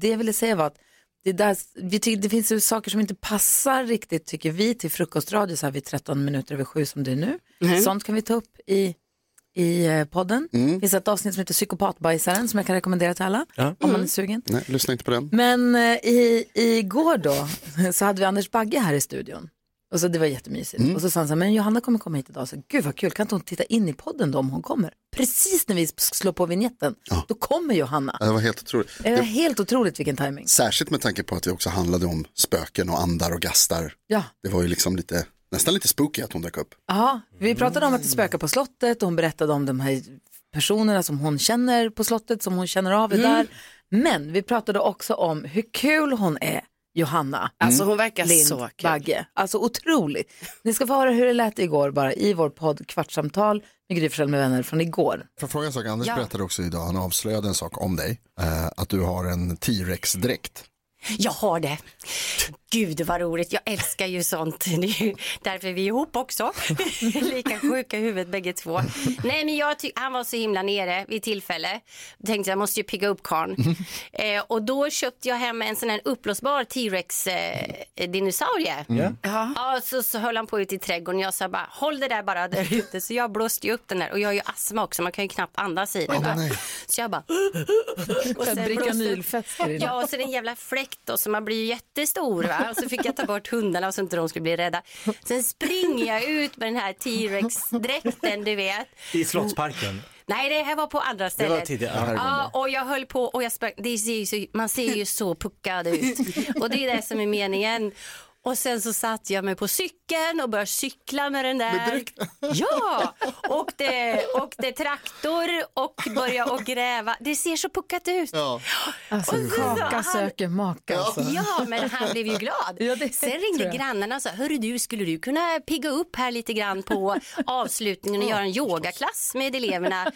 Speaker 1: Det jag ville säga var att det, där, vi tycker, det finns ju saker som inte passar riktigt, tycker vi, till frukostradio så här vid 13 minuter över sju som det är nu.
Speaker 6: Mhm.
Speaker 1: Sånt kan vi ta upp i, i eh, podden.
Speaker 9: Mm.
Speaker 1: Det finns ett avsnitt som heter Psykopatbajsaren som jag kan rekommendera till alla
Speaker 9: Ja.
Speaker 1: om man är sugen.
Speaker 9: Mm. Nej, lyssna inte på den.
Speaker 1: Men eh, i, igår då så hade vi Anders Bagge här i studion. Och så det var jättemysigt. Och så sa han så här, men Johanna kommer komma hit idag. Så gud vad kul, kan inte hon titta in i podden då om hon kommer? Precis när vi slår på vignetten, då kommer Johanna.
Speaker 9: Det var helt otroligt.
Speaker 1: Det var helt otroligt vilken timing.
Speaker 9: Särskilt med tanke på att det också handlade om spöken och andar och gastar.
Speaker 1: Ja.
Speaker 9: Det var ju liksom lite, nästan lite spooky att hon dök upp.
Speaker 1: Ja, vi pratade om att det spökar på slottet och hon berättade om de här personerna som hon
Speaker 6: Mm.
Speaker 1: känner på slottet, som hon känner av är där. Men vi pratade också om hur kul hon är Johanna.
Speaker 6: Alltså, hon verkar
Speaker 1: Lind,
Speaker 6: så kul.
Speaker 1: Bagge. Alltså otroligt. Ni ska få höra hur det lät igår bara i vår podd Kvartsamtal med Gry Forssell med vänner från igår.
Speaker 9: Får jag fråga en sak? Anders
Speaker 1: Ja.
Speaker 9: berättade också idag, han avslöjade en sak om dig. Eh, att du har en T-Rex-dräkt.
Speaker 15: Jag har det. Gud vad roligt, jag älskar ju sånt. Det är ju därför vi är ihop också. Lika sjuka i huvudet bägge två. Nej men jag ty- han var så himla nere vid tillfälle. Tänkte jag måste ju pigga upp karln. Eh, och då köpte jag hem en sån här uppblåsbar T-rex eh, dinosaurie.
Speaker 10: Mm.
Speaker 15: Ja. så, så höll han på ute i trädgården. Jag sa bara håll det där bara där ute. Så jag blåste ju upp den där. Och jag har ju astma också, man kan ju knappt andas i den. va? så jag bara och sen
Speaker 1: Brikanylfester i den.
Speaker 15: Ja, och så den jävla fläkt då, så man blir ju jättestor. Va? Och så fick jag ta bort hundarna och så inte de skulle bli rädda. Sen springer jag ut med den här T-Rex-dräkten, du vet.
Speaker 5: I Slottsparken.
Speaker 15: Nej, det här var på andra stället.
Speaker 5: tidigare. Ja, här går
Speaker 15: Ja, och jag höll på och jag sprang. Det ser ju så, man ser ju så puckad ut. Och det är det som är meningen. Och sen så satt jag mig på cykeln och började cykla med den där. Ja, åkte, åkte traktor och började och gräva. Det ser så puckat ut.
Speaker 1: Alltså
Speaker 15: Och så sa
Speaker 1: kaka
Speaker 15: han-
Speaker 1: söker maka. Alltså.
Speaker 15: Ja, men han blev ju glad. Sen
Speaker 1: tror jag.
Speaker 15: ringde grannarna och sa, hörru du, skulle du kunna pigga upp här lite grann på avslutningen och göra en yogaklass med eleverna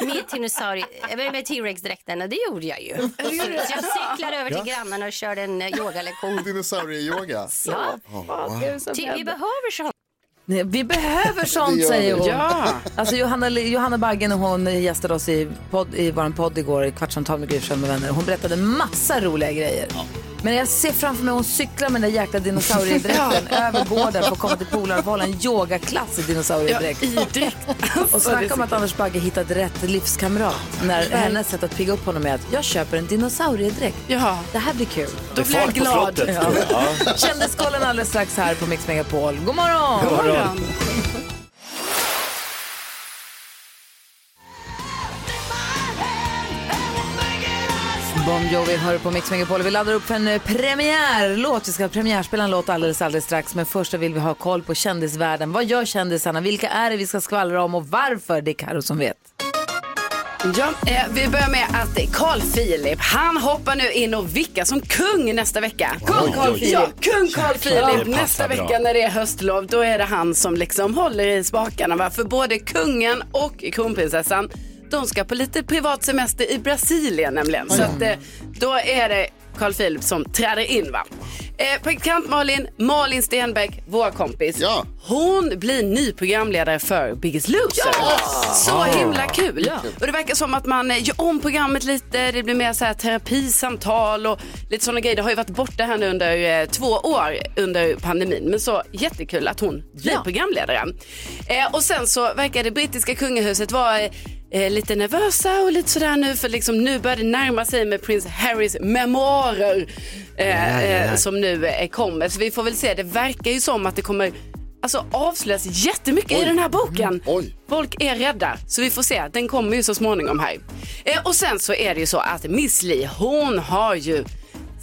Speaker 15: med dinosauri- eh, med T-Rex-dräkten? Och det gjorde jag ju.
Speaker 10: gjorde
Speaker 15: Så
Speaker 10: det?
Speaker 15: jag cyklade över till
Speaker 10: Ja.
Speaker 15: grannarna och körde en eh, yogalektion.
Speaker 9: Dinosaurie-yoga.
Speaker 15: Ja,
Speaker 9: Oh,
Speaker 1: vad är det som
Speaker 15: Ty- vi
Speaker 1: händer?
Speaker 15: behöver sånt.
Speaker 1: Nej, vi behöver sånt
Speaker 15: Det gör vi.
Speaker 1: säger hon.
Speaker 15: Ja.
Speaker 1: Alltså, Johanna, Johanna Baggen och hon gästade oss i, podd, i vår podd igår i Kvartsamtal med Gry Forssell med vänner. Hon berättade massa roliga grejer. Men jag ser framför mig hon cyklar med den där jäkla dinosauriedräkten över gården för att komma till polaren och få hålla en yogaklass i dinosauriedräkt.
Speaker 6: Ja, i dräkt.
Speaker 1: och
Speaker 6: det är
Speaker 1: snacka
Speaker 6: så
Speaker 1: om att
Speaker 6: kul.
Speaker 1: Anders Bagge hittat rätt livskamrat när
Speaker 6: Verkligen.
Speaker 1: hennes sätt att pigga upp honom är att jag köper en dinosauriedräkt.
Speaker 6: Ja.
Speaker 1: Det här blir kul.
Speaker 6: Då blir jag glad.
Speaker 1: Ja. Kändiskollen alldeles strax här på Mix Megapol. God morgon!
Speaker 10: God morgon.
Speaker 1: Bon Jovi hör du på Mix Megapol. Vi laddar upp för en eh, premiärlåt. Vi ska premiärspela en låt alldeles, alldeles strax. Men först så vill vi ha koll på kändisvärlden. Vad gör kändisarna? Vilka är det vi ska skvallra om och varför? Det är Karo som vet.
Speaker 6: Ja, eh, vi börjar med att Carl Philip, han hoppar nu in och vickar som kung nästa vecka.
Speaker 1: Kung Carl Philip.
Speaker 6: Ja, kung Carl
Speaker 1: Jäklar.
Speaker 6: Philip
Speaker 1: Det passar
Speaker 6: nästa
Speaker 1: bra.
Speaker 6: vecka när det är höstlov. Då är det han som liksom håller i spakarna. Va? För både kungen och kronprinsessan, de ska på lite privat semester i Brasilien nämligen. Så att, eh, då är det Carl Philip som träder in. Va? Eh, praktikant Malin, Malin Stenbeck, vår kompis. Hon blir ny programledare för Biggest Loser.
Speaker 1: Ah.
Speaker 6: Så himla kul. Och det verkar som att man eh, gör om programmet lite. Det blir mer så här terapisamtal och lite sådana grejer. Det har ju varit borta här nu under eh, två år under pandemin. Men så jättekul att hon blir programledare. Eh, och sen så verkar det brittiska kungahuset vara eh, eh, lite nervösa och lite sådär nu för liksom nu börjar det närma sig med prins Harrys memoarer eh,
Speaker 10: Ja, ja, ja.
Speaker 6: eh, som nu eh, kommer. Så vi får väl se, det verkar ju som att det kommer alltså, avslöjas jättemycket i den här boken. Folk är rädda, så vi får se. Den kommer ju så småningom här. Eh, och sen så är det ju så att Miss Li, hon har ju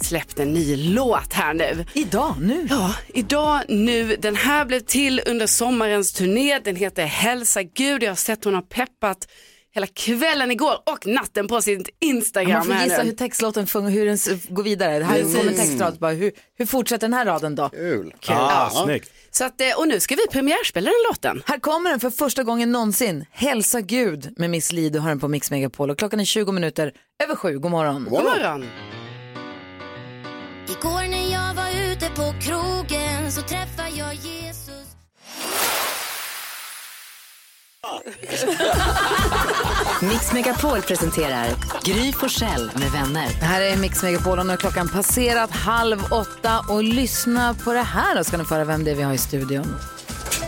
Speaker 6: släppt en ny låt här nu.
Speaker 1: Idag, nu?
Speaker 6: Ja, idag, nu. Den här blev till under sommarens turné. Den heter Hälsa Gud. Jag har sett hon har peppat hela kvällen igår och natten på sitt Instagram.
Speaker 1: Man får
Speaker 6: här
Speaker 1: gissa
Speaker 6: nu.
Speaker 1: hur textlåten fun- hur den s- går vidare. Det här kommer en
Speaker 6: Precis.
Speaker 1: textrad. Bara, hur, hur fortsätter den här raden då?
Speaker 9: Kul.
Speaker 6: Ah, Ja. snyggt. Så att, eh, och nu ska vi premiärspela den låten.
Speaker 1: Här kommer den för första gången någonsin. Hälsa Gud med Miss Li. Du har den på Mix Megapol och klockan är 20 minuter över sju. God morgon.
Speaker 6: God morgon.
Speaker 16: Igår när jag var ute på krogen så träffade jag Jesus
Speaker 12: Mix Megapol presenterar Gry Forssell med vänner.
Speaker 1: Det här är Mix Megapol och nu har klockan passerat halv åtta och lyssna på det här då ska ni föra vem det är vi har i studion.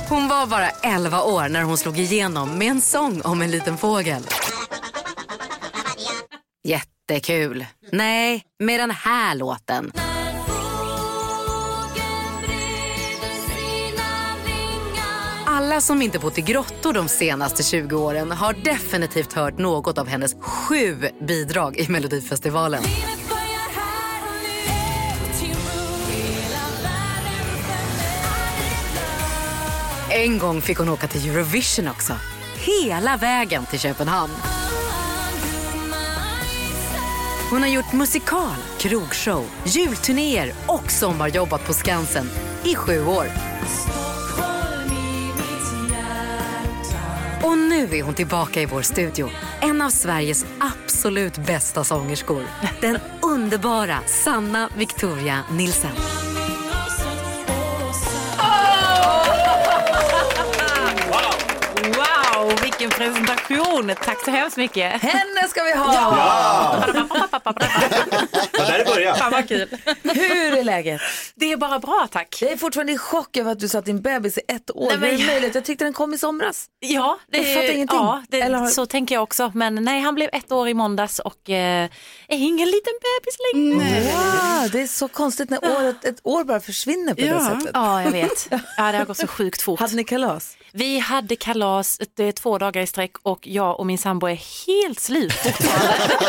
Speaker 12: Hon var bara 11 år när hon slog igenom med en sång om en liten fågel. Jättekul. Nej, med den här låten. Alla som inte bott i grottor de senaste 20 åren har definitivt hört något av hennes sju bidrag i Melodifestivalen. En gång fick hon åka till Eurovision också. Hela vägen till Köpenhamn. Hon har gjort musikal, krogshow, julturnéer och sommarjobbat på Skansen i sju år. Och nu är hon tillbaka i vår studio. En av Sveriges absolut bästa sångerskor. Den underbara Sanna Victoria Nilsen.
Speaker 17: Wow, vilken presentation! Tack så hemskt mycket.
Speaker 1: Henne ska vi ha!
Speaker 17: Ja!
Speaker 5: Ja, där det började.
Speaker 17: Fan vad kul.
Speaker 1: Hur är läget?
Speaker 17: Det är bara bra tack.
Speaker 1: Jag är fortfarande i chock över att du sa att din bebis är ett år.
Speaker 17: Nej, men-
Speaker 1: Hur är det möjligt? Jag tyckte den kom i somras.
Speaker 17: Ja, det,
Speaker 1: jag fattar ingenting.
Speaker 17: Ja, det,
Speaker 1: Eller har-
Speaker 17: så tänker jag också. Men nej, han blev ett år i måndags och eh, är ingen liten bebis längre.
Speaker 1: Wow, Mm. det är så konstigt när året, ett år bara försvinner på det sättet.
Speaker 17: Ja, jag vet. Ja, det har gått så sjukt fort.
Speaker 1: Hade ni kalas?
Speaker 17: Vi hade kalas eh, två dagar i sträck och jag och min sambo är helt slut.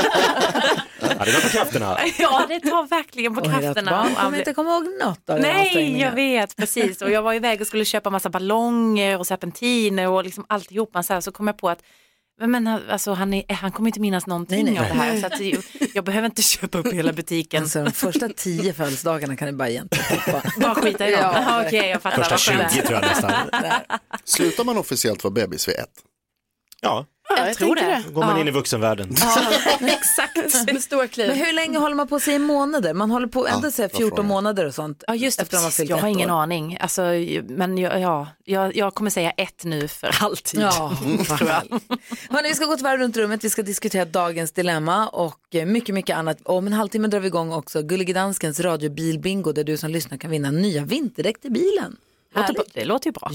Speaker 5: Ja, det var på krafterna.
Speaker 17: ja, det tar verkligen på
Speaker 1: Oj, ert
Speaker 17: krafterna.
Speaker 1: barn kommer inte komma ihåg något av era
Speaker 17: Nej,
Speaker 1: ansträngningar.
Speaker 17: jag vet precis. Och jag var iväg och skulle köpa massa ballonger och serpentiner och liksom alltihopa. Så, här, så kom jag på att men han- alltså, han, är, han kommer inte minnas någonting
Speaker 1: Nej, nej.
Speaker 17: av det här.
Speaker 1: Nej.
Speaker 17: Så att, jag, jag behöver inte köpa upp hela butiken.
Speaker 1: Alltså, de första tio födelsedagarna kan ni bara egentligen hoppa.
Speaker 17: Bara skita i dem.
Speaker 1: Ja,
Speaker 17: Ja, Okej, jag fattar.
Speaker 9: Första
Speaker 17: vad skönt.
Speaker 9: 20 tror jag nästan. Slutar man officiellt vara bebis vid ett?
Speaker 5: Ja,
Speaker 17: Jag, tror det.
Speaker 5: då går man
Speaker 17: Ja.
Speaker 5: in i vuxenvärlden.
Speaker 17: Exakt. Med stora kliv.
Speaker 1: Men hur länge håller man på sig i månader? Man håller på ända
Speaker 17: Ja,
Speaker 1: sig
Speaker 17: bra
Speaker 1: 14
Speaker 17: fråga.
Speaker 1: månader och sånt.
Speaker 17: Ja, just det,
Speaker 1: efter man har
Speaker 17: precis.
Speaker 1: fyllt
Speaker 17: jag har
Speaker 1: ett
Speaker 17: ingen
Speaker 1: år.
Speaker 17: aning. Alltså, men jag, ja, jag, jag kommer säga ett nu för alltid.
Speaker 1: Ja,
Speaker 17: tror jag.
Speaker 1: Hörrni, vi ska gå ett varv runt rummet, vi ska diskutera dagens dilemma och eh, mycket, mycket annat. Om en halvtimme drar vi igång också Gullige Danskens radiobilbingo där du som lyssnar kan vinna nya vinterdäck till bilen. Härligt.
Speaker 17: Det låter ju bra.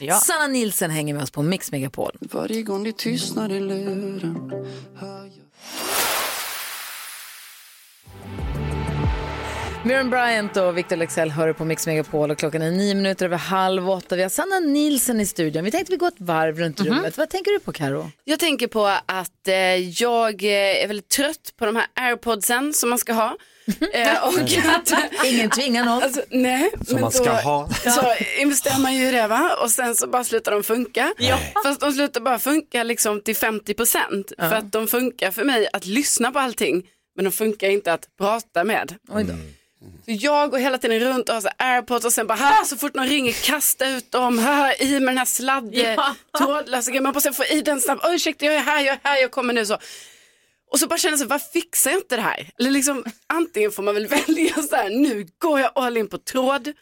Speaker 1: Ja. Sanna Nilsen hänger med oss på Mix Megapol.
Speaker 18: Varje gång det tystnar i luren
Speaker 1: Miriam Bryant och Victor Lexell hör på Mix Megapol och klockan är nio minuter över halv åtta. Vi har Sanna Nilsen i studion. Vi tänkte vi går ett varv runt
Speaker 17: Mhm.
Speaker 1: rummet. Vad tänker du på Karo?
Speaker 6: Jag tänker på att eh, jag eh, är väldigt trött på de här airpodsen som man ska ha.
Speaker 1: Mhm.
Speaker 6: Eh, och att,
Speaker 1: Ingen tvingar någon.
Speaker 6: Alltså, nej,
Speaker 1: Som
Speaker 6: men
Speaker 1: man ska
Speaker 6: då,
Speaker 1: ha.
Speaker 6: Så investerar man ju i det va? och sen så bara slutar de funka.
Speaker 1: Ja.
Speaker 6: Fast de slutar bara funka liksom till 50 procent.
Speaker 1: Ja.
Speaker 6: För att de funkar för mig att lyssna på allting men de funkar inte att prata med. Så jag går hela tiden runt och har så här airpods och sen bara här så fort någon ringer kasta ut dem, här i med den här sladden,
Speaker 17: Ja.
Speaker 6: trådlösa grejen, man måste få i den snabbt, Oj, ursäkta jag är här, jag är här, jag kommer nu så. Och så bara känner jag så här, varför fixar jag inte det här? Eller liksom antingen får man väl välja så här, nu går jag all in på tråd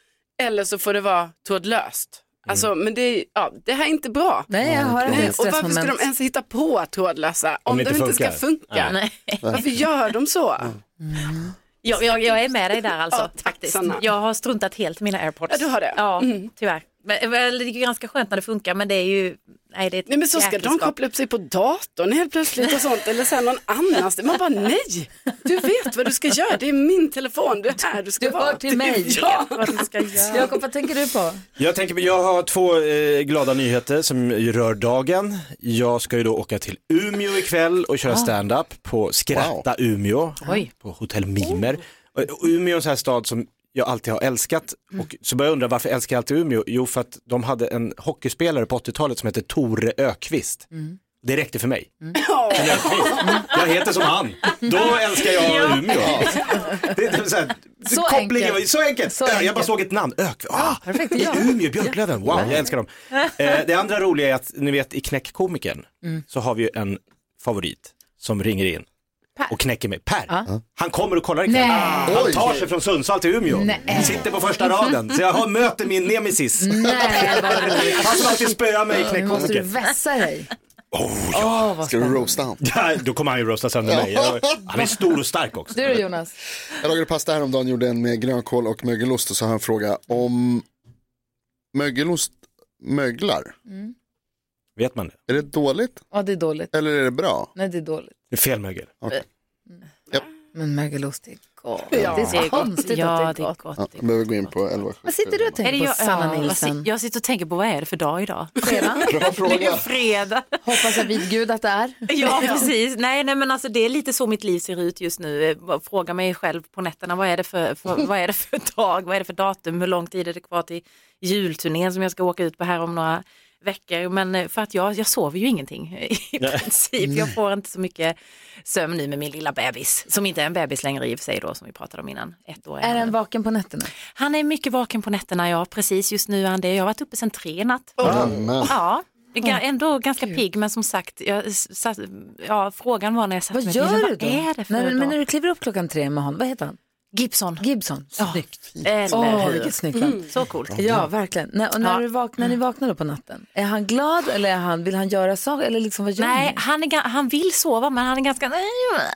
Speaker 6: eller så får det vara trådlöst. Alltså men det, är- ja, det här är inte bra.
Speaker 1: Nej, jag har
Speaker 6: Nej,
Speaker 1: ett
Speaker 6: Och varför ska
Speaker 1: stressmoment.
Speaker 6: de ens hitta på trådlösa om,
Speaker 1: Om det
Speaker 6: de
Speaker 1: inte
Speaker 6: inte ska
Speaker 1: funkar.
Speaker 6: funka?
Speaker 1: Nej.
Speaker 6: Varför gör de så?
Speaker 17: Jag, jag, jag är med dig där alltså.
Speaker 6: Ja, tack,
Speaker 17: faktiskt.
Speaker 6: Sanna.
Speaker 17: Jag har struntat helt i mina airpods.
Speaker 6: Ja, du har det.
Speaker 17: Ja,
Speaker 6: Mm.
Speaker 17: tyvärr. Men, väl, det är ju ganska skönt när det funkar men det är ju... Nej, det är ett
Speaker 6: Nej men så ska
Speaker 17: jäkligt
Speaker 6: de
Speaker 17: skap.
Speaker 6: koppla upp sig på datorn helt plötsligt och sånt eller sen någon annans. Man bara nej, du vet vad du ska göra, det är min telefon, det är här du ska
Speaker 1: Du
Speaker 6: vara.
Speaker 1: hör till mig.
Speaker 6: Ja.
Speaker 1: Jakob, vad tänker du på?
Speaker 5: Jag, tänker, jag har två eh, glada nyheter som ju rör dagen. Jag ska ju då åka till Umeå ikväll och köra
Speaker 17: Ah.
Speaker 5: stand-up på Skratta Umeå
Speaker 17: Oj.
Speaker 5: på Hotell Mimer. Och och Umeå är en sån här stad som jag alltid har älskat
Speaker 1: Mm.
Speaker 5: och så börjar jag undra varför älskar jag alltid Umeå? Jo för att de hade en hockeyspelare på 80-talet som hette Tore Ökvist.
Speaker 1: Mm.
Speaker 5: Det räckte för mig. Men jag- Jag heter som han. Då älskar jag Umeå. Det, det, är typ så här,
Speaker 1: Så
Speaker 5: kopplingen,
Speaker 1: enkelt.
Speaker 5: Så enkelt.
Speaker 1: Så
Speaker 5: Jag
Speaker 1: enkelt.
Speaker 5: bara såg ett namn, Ökvist. Ah,
Speaker 1: Perfekt,
Speaker 5: i
Speaker 1: ja.
Speaker 5: Umeå, Björklöven, wow, jag älskar dem. Eh, det andra roliga är att, ni vet i Knäckkomikern
Speaker 1: Mm.
Speaker 5: så har vi ju en favorit som ringer in och knäcker mig. Per, han kommer och kollar ikväll.
Speaker 1: Nej.
Speaker 5: Han
Speaker 1: Oj.
Speaker 5: tar sig från Sundsvall till Umeå,
Speaker 1: Nej.
Speaker 5: sitter på första raden, så jag har, möter min nemesis.
Speaker 1: Nej, vad roligt.
Speaker 5: han som alltid spöar mig i
Speaker 1: Nu måste du
Speaker 5: Knäckkomikern.
Speaker 1: vässa dig.
Speaker 9: Ska du roasta han?
Speaker 5: Ja, då kommer han ju roasta sönder mig. Jag- Han är stor och stark också.
Speaker 1: Du då Jonas?
Speaker 9: Jag lagade pasta häromdagen, gjorde en med grönkål och mögelost och så har jag en fråga om mögelost möglar.
Speaker 1: Mm.
Speaker 5: Vet man det?
Speaker 9: Är det dåligt
Speaker 1: Ja, det är dåligt.
Speaker 9: eller är det bra?
Speaker 1: Nej, det är dåligt.
Speaker 5: Det är fel mögel.
Speaker 9: Okej.
Speaker 1: Men mögelost är gott.
Speaker 9: Ja.
Speaker 1: Det är så
Speaker 9: Det är gott.
Speaker 1: konstigt
Speaker 17: Ja,
Speaker 1: att det är gott.
Speaker 9: Ja, jag behöver gå in på 11
Speaker 1: Vad sitter du och
Speaker 17: Är det
Speaker 1: tänker på
Speaker 17: jag,
Speaker 1: Sanna
Speaker 17: ja, jag,
Speaker 1: Nilsson?
Speaker 17: sit- jag sitter och tänker på vad är det för dag idag?
Speaker 9: Bra
Speaker 17: Det är
Speaker 9: fråga.
Speaker 17: fredag.
Speaker 1: Hoppas jag vid gud att det är.
Speaker 17: Ja, precis. Nej, nej, men alltså det är lite så mitt liv ser ut just nu. Eh, bara Fråga mig själv på nätterna, vad är det för, för, vad är det för dag, vad är det för datum, hur lång tid är det kvar till julturnén som jag ska åka ut på här om några veckor men eh, för att jag, jag sover ju ingenting eh, i
Speaker 5: Nej.
Speaker 17: princip. Jag
Speaker 5: Nej.
Speaker 17: får inte så mycket sömn nu med min lilla bebis som inte är en bebis längre i och för sig då som vi pratade om innan. Ett år
Speaker 1: Är den vaken på nätterna?
Speaker 17: Han är mycket vaken på nätterna ja, precis just nu är han det. Jag har varit uppe sedan tre i natt.
Speaker 1: Amen.
Speaker 17: Ja. det är ga-
Speaker 1: Åh,
Speaker 17: Ändå ganska pigg men som sagt, jag, s- satt, ja, frågan var när jag satte
Speaker 1: Vad
Speaker 17: mig i
Speaker 1: gör
Speaker 17: bilen,
Speaker 1: du då?
Speaker 17: vad är det för
Speaker 1: när,
Speaker 17: dag?
Speaker 1: men när du kliver upp klockan tre med honom, vad heter han?
Speaker 17: Gibson.
Speaker 1: Gibson, snyggt.
Speaker 17: Eller
Speaker 1: Åh,
Speaker 17: hur?
Speaker 1: vilket snyggt namn.
Speaker 17: Mm, så coolt.
Speaker 1: Ja, Mm. verkligen. När, och när,
Speaker 17: Ja.
Speaker 1: du vaknar, när ni vaknar då på natten, är han glad eller är han, vill han göra saker? Eller liksom, vad gör
Speaker 17: Nej,
Speaker 1: ni?
Speaker 17: han, är, ga- han vill sova men han är ganska, nej,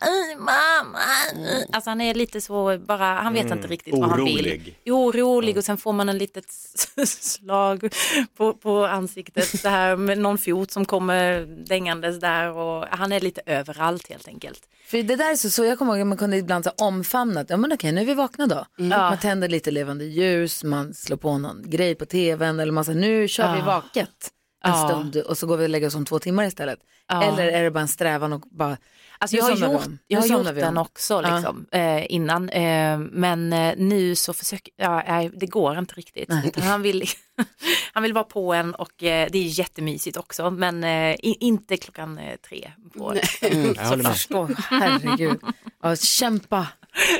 Speaker 17: nej, mamma. nej." Alltså han är lite så bara, han vet
Speaker 11: Mm.
Speaker 17: inte riktigt vad han vill.
Speaker 11: Orolig.
Speaker 17: Orolig. och sen får man en litet s- s- slag på, på ansiktet så här med någon fot som kommer dängandes där och han är lite överallt helt enkelt.
Speaker 1: För det där är så, så jag kommer ihåg att man kunde ibland så här omfamna, att, ja men okej nu är vi vakna då.
Speaker 17: Mm.
Speaker 1: Man tänder lite levande ljus, man slår på någon grej på tvn eller man säger nu kör vi
Speaker 17: Ja.
Speaker 1: vaket en
Speaker 17: Ja.
Speaker 1: stund och så går vi och lägger oss om två timmar istället.
Speaker 17: Ja.
Speaker 1: Eller är det bara en strävan och bara,
Speaker 17: Alltså
Speaker 1: nu
Speaker 17: jag har
Speaker 1: somnar vi
Speaker 17: gjort,
Speaker 1: om. Nu
Speaker 17: jag har
Speaker 1: somnar
Speaker 17: gjort
Speaker 1: vi om.
Speaker 17: den också
Speaker 1: Ja.
Speaker 17: liksom, eh, innan, eh, men eh, nu så försöker, ja, nej, det går inte riktigt.
Speaker 1: Nej.
Speaker 17: Utan han, vill, han vill vara på en och eh, det är jättemysigt också, men eh, i, inte klockan eh, tre. På
Speaker 1: Mm,
Speaker 17: Så
Speaker 1: jag förstår, herregud. Ja, kämpa.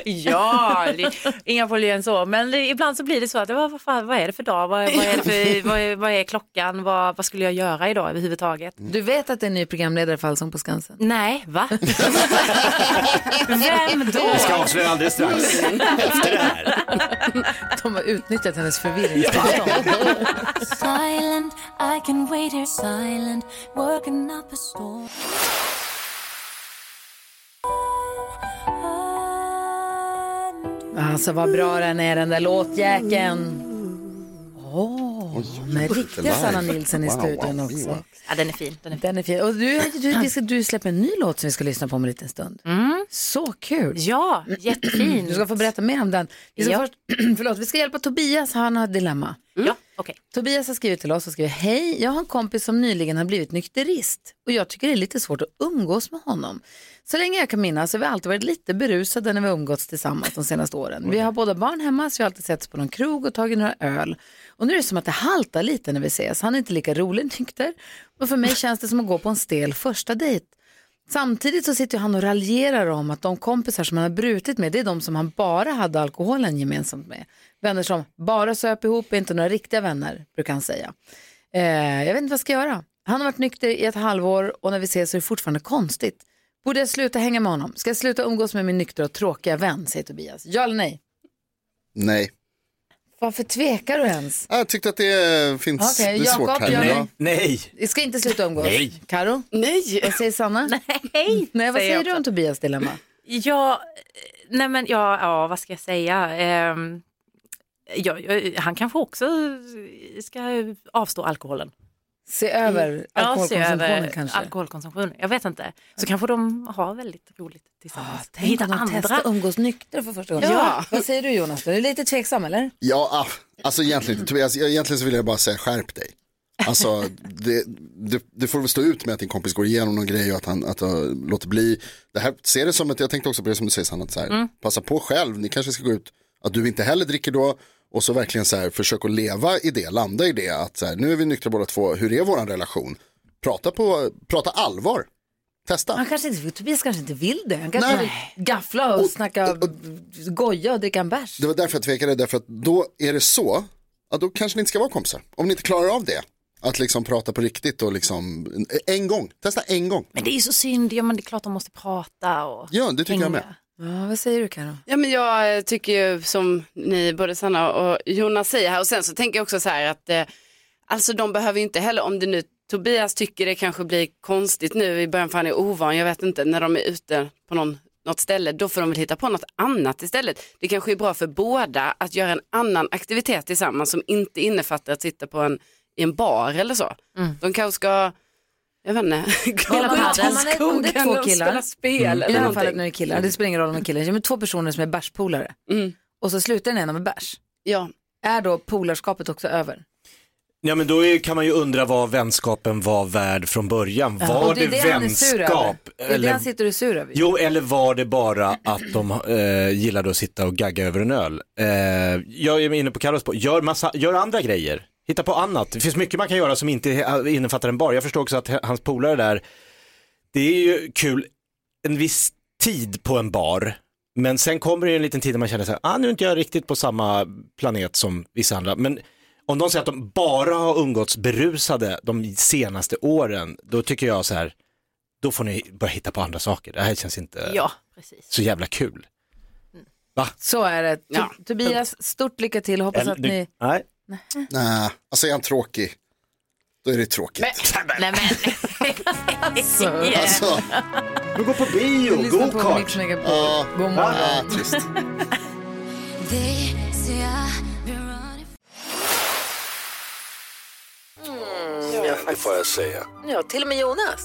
Speaker 17: Ja, li- inga problem än så. Men det- ibland så blir det så att vad, vad, fan, vad är det för dag? Vad, vad, är, det för, vad, är, vad är klockan? Vad, vad skulle jag göra idag överhuvudtaget?
Speaker 1: Du vet att det är en ny programledare för Allsång på Skansen?
Speaker 17: Nej, va? Vem då?
Speaker 5: Jag ska avslöja alldeles strax. Efter det här.
Speaker 1: De har utnyttjat hennes förvirring.
Speaker 19: silent, I can wait here silent, working up a storm.
Speaker 1: Alltså vad bra den är den där låtjäkeln. Åh, med riktiga
Speaker 17: live.
Speaker 1: Sanna Nilsson i
Speaker 17: Wow,
Speaker 1: studion
Speaker 17: wow,
Speaker 1: också.
Speaker 17: wow. Ja, den är fin. Den är fin.
Speaker 1: Den är fin. Och du, du, vi ska, du släpper en ny låt som vi ska lyssna på om en liten stund. Så kul!
Speaker 17: Mm. Ja, jättefin.
Speaker 1: Du ska få berätta mer om den. Vi ska,
Speaker 17: Ja.
Speaker 1: först, förlåt, vi ska hjälpa Tobias, han har ett dilemma.
Speaker 17: Mm. Ja, okej.
Speaker 1: Tobias har skrivit till oss och skriver, hej, jag har en kompis som nyligen har blivit nykterist och jag tycker det är lite svårt att umgås med honom. Så länge jag kan minnas har vi alltid varit lite berusade när vi har umgåtts tillsammans de senaste åren. Vi har båda barn hemma så vi har alltid setts på någon krog och tagit några öl. Och nu är det som att det haltar lite när vi ses. Han är inte lika rolig nykter och för mig känns det som att gå på en stel första dejt. Samtidigt så sitter ju han och raljerar om att de kompisar som han har brutit med, det är de som han bara hade alkoholen gemensamt med. Vänner som bara söp ihop, är inte några riktiga vänner, brukar han säga. Eh, jag vet inte vad jag ska göra. Han har varit nykter i ett halvår och när vi ses så är det fortfarande konstigt. Borde jag sluta hänga med honom? Ska jag sluta umgås med min nyktra och tråkiga vän, säger Tobias. Ja eller nej?
Speaker 20: Nej.
Speaker 1: Varför tvekar du ens?
Speaker 20: Jag tyckte att det finns,
Speaker 1: Okej,
Speaker 20: det är
Speaker 1: Jakob,
Speaker 20: svårt här.
Speaker 1: jag-
Speaker 20: Ja.
Speaker 5: Nej.
Speaker 1: Vi ska inte sluta umgås.
Speaker 5: Nej.
Speaker 1: Karo?
Speaker 6: Nej.
Speaker 1: Vad säger Sanna?
Speaker 17: Nej.
Speaker 1: Nej, vad
Speaker 17: säger jag
Speaker 1: säger du om Tobias dilemma?
Speaker 17: Ja, eh, nej men ja, ja vad ska jag säga? Ehm, ja, ja, han kanske också ska avstå alkoholen. Mm.
Speaker 1: Se över alkoholkonsumtionen
Speaker 17: över
Speaker 1: kanske? Ah,
Speaker 17: alkoholkonsumtionen, jag vet inte. Så kanske de har väldigt roligt tillsammans.
Speaker 1: Tänk om de testar att umgås nyktra för första gången.
Speaker 17: Ja.
Speaker 1: Vad säger du Jonas? Du är lite tveksam eller?
Speaker 9: Ja, ah, alltså egentligen inte Tobias, jag- egentligen så vill jag bara säga skärp dig. Alltså, det, det, det får väl stå ut med att din kompis går igenom någon grej och att han, att han låter bli. Det här, ser det som ett, jag tänkte också på det som du säger Sanna, att så här,
Speaker 20: Mm.
Speaker 9: passa på själv, ni kanske ska gå ut, att du inte heller dricker då, och så verkligen så här, försök att leva i det, landa i det, att så här, nu är vi nyktra båda två, hur är vår relation? Prata, på, prata allvar, testa.
Speaker 1: Han kanske inte, Tobias kanske inte vill det. Han kanske
Speaker 9: Nej.
Speaker 1: vill gaffla och, snacka goja och dricka en bärs.
Speaker 9: Det var därför jag tvekade, därför att då är det så, ja, då kanske ni inte ska vara kompisar. Om ni inte klarar av det, att liksom prata på riktigt och liksom, en gång, testa en gång.
Speaker 17: Men det är ju så synd, ja men det är klart de måste prata och...
Speaker 9: Ja, det tycker jag med.
Speaker 1: Ja, vad säger du Karo?
Speaker 6: Ja, men jag eh, tycker ju som ni både Sanna och Jonas säger här och sen så tänker jag också så här att eh, alltså de behöver ju inte heller om det nu Tobias tycker det kanske blir konstigt nu i början för han är ovan, jag vet inte, när de är ute på någon, något ställe, då får de väl hitta på något annat istället. Det kanske är bra för båda att göra en annan aktivitet tillsammans som inte innefattar att sitta på en, i en bar eller så. De kanske ska, jag vet inte, gå
Speaker 1: Spela
Speaker 6: ut i
Speaker 1: padel. Om man är- om det är
Speaker 6: skogen
Speaker 1: två
Speaker 6: och
Speaker 1: killar. Mm.
Speaker 6: spela spel
Speaker 1: I det här
Speaker 6: eller
Speaker 1: fallet
Speaker 6: någonting.
Speaker 1: nu är det killar. Det spelar ingen roll om det är killar. Ja, Men två personer som är bärspolare. Och så slutar den ena med bärs.
Speaker 6: Ja.
Speaker 1: Är då polarskapet också över?
Speaker 5: Ja men då är, kan man ju undra vad vänskapen var värd från början.
Speaker 1: Ja.
Speaker 5: Var
Speaker 1: Och
Speaker 5: det,
Speaker 1: är han är sur över.
Speaker 5: vänskap?
Speaker 1: Det är det han sitter och är sur över.
Speaker 5: Jo, eller var det bara att de eh, gillade att sitta och gagga över en öl? Eh, jag är inne på Carros spår, gör, massa, gör andra grejer. Hitta på annat. Det finns mycket man kan göra som inte eh, innefattar en bar. Jag förstår också att h- hans polare där, det är ju kul en viss tid på en bar. Men sen kommer det ju en liten tid när man känner så här, ah, nu är inte jag riktigt på samma planet som vissa andra. Men om de säger att de bara har umgåtts berusade de senaste åren, då tycker jag så här, då får ni börja hitta på andra saker. Det här känns inte
Speaker 1: Ja, precis. Mm.
Speaker 5: så jävla kul. Va?
Speaker 1: Så är det. Tu- Tobias, stort lycka till. Hoppas
Speaker 9: Eller-
Speaker 1: att ni...
Speaker 5: Nej.
Speaker 9: Nej, alltså är han tråkig, då är det tråkigt.
Speaker 1: Nej men. alltså.
Speaker 9: Alltså.
Speaker 5: Du går på bio,
Speaker 1: Lyssna på go-kart. Mix Megapol.
Speaker 9: Ja,
Speaker 1: God morgon.
Speaker 9: Ja, trist.
Speaker 2: Ja, det får jag säga.
Speaker 1: Ja, till och med Jonas.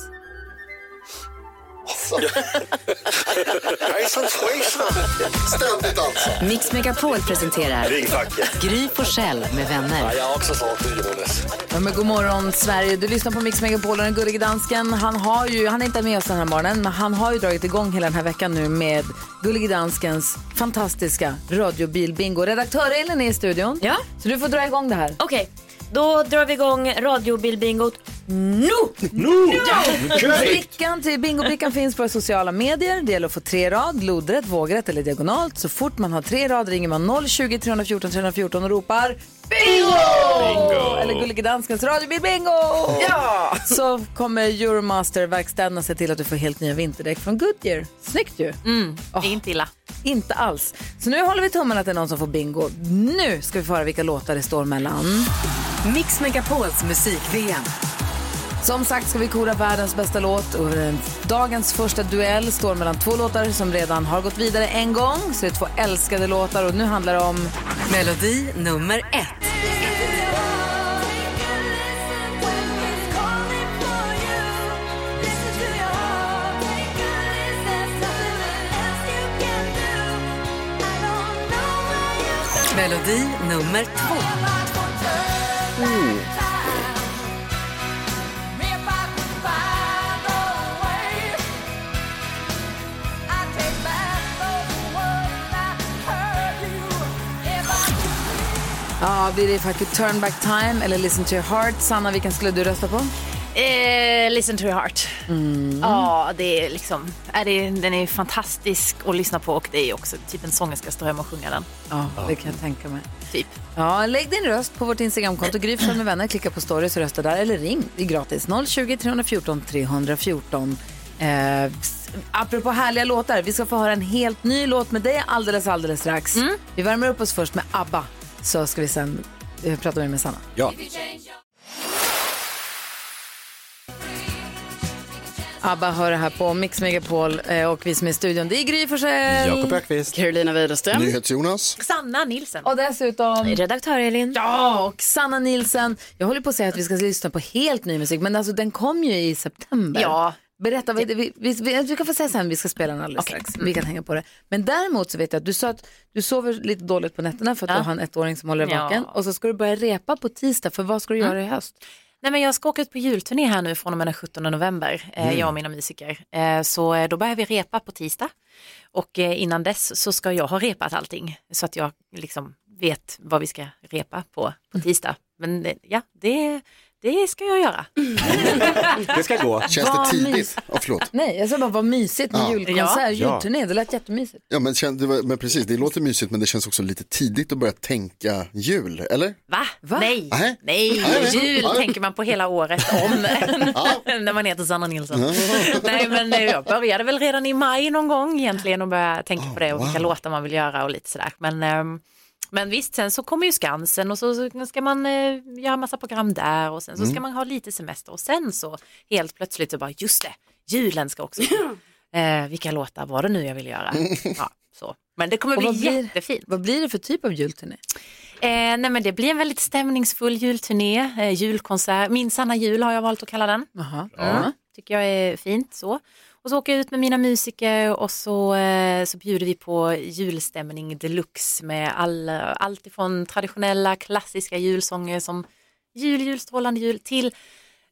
Speaker 9: Jag är sensational. Ständigt alltså.
Speaker 12: Mix Megapol presenterar
Speaker 2: Ring facket.
Speaker 12: Gry Forssell med vänner.
Speaker 2: jag har också sånt i Jonas.
Speaker 1: Ja, men god morgon Sverige, du lyssnar på Mix Megapol och den gullige dansken. Han, har ju, han är inte med oss den här morgonen, men han har ju dragit igång hela den här veckan nu med gullige danskens fantastiska radiobilbingo. Redaktör Elin är i studion, ja. så du får dra igång det här.
Speaker 3: Okej, då drar vi igång radiobilbingot nu!
Speaker 5: Nu!
Speaker 1: Brickan till bingobrickan finns på våra sociala medier. Det gäller att få tre rad, lodrätt, vågrätt eller diagonalt. Så fort man har tre rad ringer man 020 314 314 och ropar Bingo!
Speaker 10: Bingo!
Speaker 1: Eller Gullige Danskens radiobil Bingo!
Speaker 10: Ja!
Speaker 1: Så kommer Euromaster-verkstäderna se till att du får helt nya vinterdäck från Goodyear. Snyggt ju! Mm, det är inte illa. Inte alls. Så nu håller vi tummarna att det är någon som får bingo. Nu ska vi få höra vilka låtar det står mellan.
Speaker 12: Mix Megapols musik-VM.
Speaker 1: Som sagt ska vi kora världens bästa låt och dagens första duell står mellan två låtar som redan har gått vidare en gång. Så det är två älskade låtar och nu handlar det om...
Speaker 12: Melodi nummer ett. Melodi nummer två.
Speaker 1: Ja, blir det faktiskt Turn Back Time eller Listen to your heart? Sanna, vilken skulle du rösta på?
Speaker 17: Eh, listen to your heart.
Speaker 1: Mm.
Speaker 17: Ja, det är liksom, är det, den är fantastisk att lyssna på och det är också typ en sångerska står hemma och sjunga den.
Speaker 1: Ja, det kan jag tänka mig. Typ. Ja, lägg din röst på vårt Instagramkonto. Gry Forssell med vänner. Klicka på stories och rösta där. Eller ring. Det är gratis. 020 314 314. Eh, s- apropå härliga låtar. Vi ska få höra en helt ny låt med dig alldeles, alldeles strax. Vi värmer upp oss först med ABBA. Så ska vi sen eh, prata mer med Sanna.
Speaker 5: Ja.
Speaker 1: ABBA hör det här på Mix Megapol eh, och vi som är i studion. Det är Gry Forssell.
Speaker 5: Ökvist.
Speaker 6: Carolina Widerström.
Speaker 9: NyhetsJonas.
Speaker 1: Sanna Nilsen. Och dessutom... Redaktör Elin. Ja, och Sanna Nilsen. Jag håller på att säga att vi ska lyssna på helt ny musik, men alltså den kom ju i september.
Speaker 17: Ja.
Speaker 1: Berätta, vad, vi, vi, vi, du kan få säga sen, vi ska spela den alldeles strax.
Speaker 17: Mm.
Speaker 1: Vi kan hänga på det. Men däremot så vet jag att du sa att du sover lite dåligt på nätterna för att
Speaker 17: Ja.
Speaker 1: du har en ettåring som håller dig
Speaker 17: Ja. Mm.
Speaker 1: vaken. Och så ska du börja repa på tisdag, för vad ska du göra i höst?
Speaker 17: Nej, men jag ska åka ut på julturné här nu från och med den 17 november, eh,
Speaker 1: Mm.
Speaker 17: jag och mina musiker. Eh, så eh, då börjar vi repa på tisdag och eh, innan dess så ska jag ha repat allting så att jag liksom vet vad vi ska repa på, på tisdag. Men eh, ja, det, det ska jag göra.
Speaker 5: Det ska gå.
Speaker 9: Känns
Speaker 1: Vad
Speaker 9: det tidigt?
Speaker 1: mys-
Speaker 9: Ja, förlåt.
Speaker 1: Nej, jag sa bara vad mysigt med
Speaker 9: Ja.
Speaker 1: julkonsert,
Speaker 9: Ja.
Speaker 1: julturné, det lät jättemysigt.
Speaker 9: Ja, men, kän- det var, men precis, det låter mysigt men det känns också lite tidigt att börja tänka jul, eller?
Speaker 17: Va? Nej,
Speaker 9: Nej.
Speaker 17: nej,
Speaker 9: Nej.
Speaker 17: jul
Speaker 9: Nej.
Speaker 17: tänker man på hela året om när man heter Sanna Nilsson. nej, men eh, jag började väl redan i maj någon gång egentligen och började tänka på det och vilka låtar man vill göra och lite sådär. Men, ehm, men visst, sen så kommer ju Skansen och så så ska man eh, göra massa program där och sen så ska
Speaker 3: Mm.
Speaker 17: man ha lite semester och sen så helt plötsligt så bara just det, julen ska också. eh, vilka låtar var det nu jag ville göra? ja, så. Men det kommer
Speaker 1: Och
Speaker 17: bli
Speaker 1: vad blir-
Speaker 17: jättefint.
Speaker 1: Vad blir det för typ av julturné?
Speaker 17: Eh, nej men det blir en väldigt stämningsfull julturné, eh, julkonsert, Min sanna jul har jag valt att kalla den. Mm, tycker jag är fint så. Och så åker jag ut med mina musiker och så, eh, så bjuder vi på julstämning deluxe med all, allt ifrån traditionella klassiska julsånger som jul, jul, strålande jul till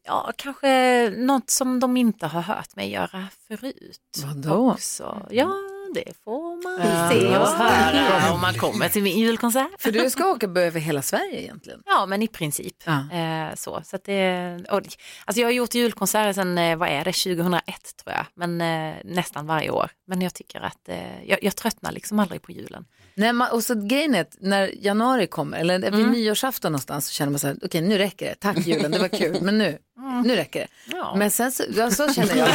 Speaker 17: ja, kanske något som de inte har hört mig göra förut.
Speaker 1: Vadå?
Speaker 17: Också. Ja, det får man
Speaker 1: Ja.
Speaker 17: se och
Speaker 1: Ja.
Speaker 17: höra om man kommer till min julkonsert.
Speaker 1: För du ska åka över hela Sverige egentligen?
Speaker 17: Ja, men i princip. Eh, så. Så att det, och, alltså jag har gjort julkonserter sedan, eh, vad är det, 2001 tror jag. Men eh, nästan varje år. Men jag tycker att eh, jag, jag tröttnar liksom aldrig på julen.
Speaker 1: När man, och så grejen är att när januari kommer, eller vid
Speaker 17: Mm.
Speaker 1: nyårsafton någonstans, så känner man så här, okej nu räcker det, tack julen, det var kul, men nu,
Speaker 17: Mm.
Speaker 1: nu räcker det. Men sen så, ja, så känner jag.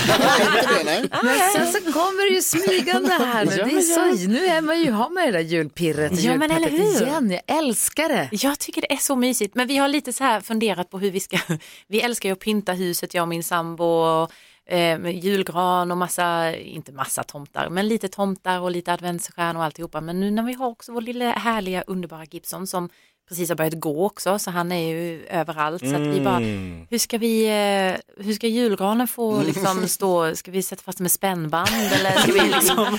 Speaker 1: men sen så kommer det ju smygande här nu,
Speaker 17: Ja,
Speaker 1: det är
Speaker 17: men
Speaker 1: så, nu är man ju, har man ju det där julpirret,
Speaker 17: Ja, men
Speaker 1: julpeppet
Speaker 17: eller hur?
Speaker 1: igen, jag älskar det.
Speaker 17: Jag tycker det är så mysigt, men vi har lite så här funderat på hur vi ska, vi älskar ju att pynta huset, jag och min sambo, och, eh, med julgran och massa, inte massa tomtar, men lite tomtar och lite adventsstjärnor och alltihopa. Men nu när vi har också vår lilla härliga underbara Gibson som precis har börjat gå också, så han är ju överallt. Så att vi bara,
Speaker 5: Mm.
Speaker 17: hur ska vi, eh, hur ska julgranen få liksom stå, ska vi sätta fast den med spännband eller ska vi liksom,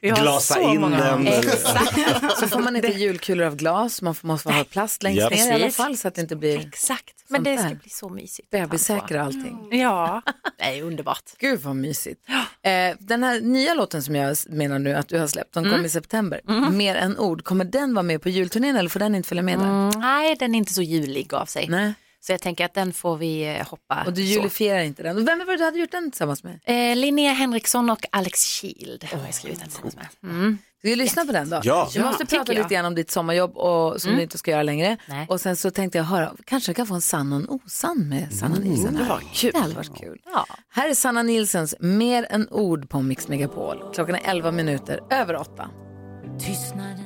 Speaker 17: vi har
Speaker 5: Glasa
Speaker 17: så
Speaker 5: in
Speaker 17: många-
Speaker 5: den.
Speaker 17: Exakt.
Speaker 1: Så får man inte julkulor av glas, man får, måste ha plast längst
Speaker 5: Ja,
Speaker 1: ner i alla
Speaker 17: precis.
Speaker 1: fall så att det inte blir
Speaker 17: Exakt, men det ska bli så mysigt.
Speaker 1: bebissäkra allting.
Speaker 17: Ja, det är underbart.
Speaker 1: Gud vad mysigt. Eh, den här nya låten som jag menar nu att du har släppt, som kom
Speaker 17: Mm.
Speaker 1: i september, Mer än ord, kommer den vara med på julturnén eller får den inte följa med där?
Speaker 17: Mm, nej, den är inte så julig av sig.
Speaker 1: Nej.
Speaker 17: Så jag tänker att den får vi eh, hoppa.
Speaker 1: Och du julifierar inte den. Och Vem var det du hade gjort den tillsammans med?
Speaker 17: Eh, Linnea Henriksson och Alex Kild har jag skrivit den tillsammans med. Mm.
Speaker 1: Ska vi lyssna på den då?
Speaker 17: Ja.
Speaker 1: Vi
Speaker 17: Ja,
Speaker 1: måste
Speaker 17: tycker
Speaker 1: prata
Speaker 17: jag.
Speaker 1: lite grann om ditt sommarjobb och, som
Speaker 17: Mm.
Speaker 1: du inte ska göra längre.
Speaker 17: Nej.
Speaker 1: Och sen så tänkte jag höra, kanske jag kan få en sann och en osann med Sanna
Speaker 17: Mm.
Speaker 1: Nilsson.
Speaker 17: Det var
Speaker 1: kul. Det hade varit kul. Här är Sanna Nilssons Mer än ord på Mix Megapol. Klockan är 11 minuter över 8.
Speaker 21: Tystnaden.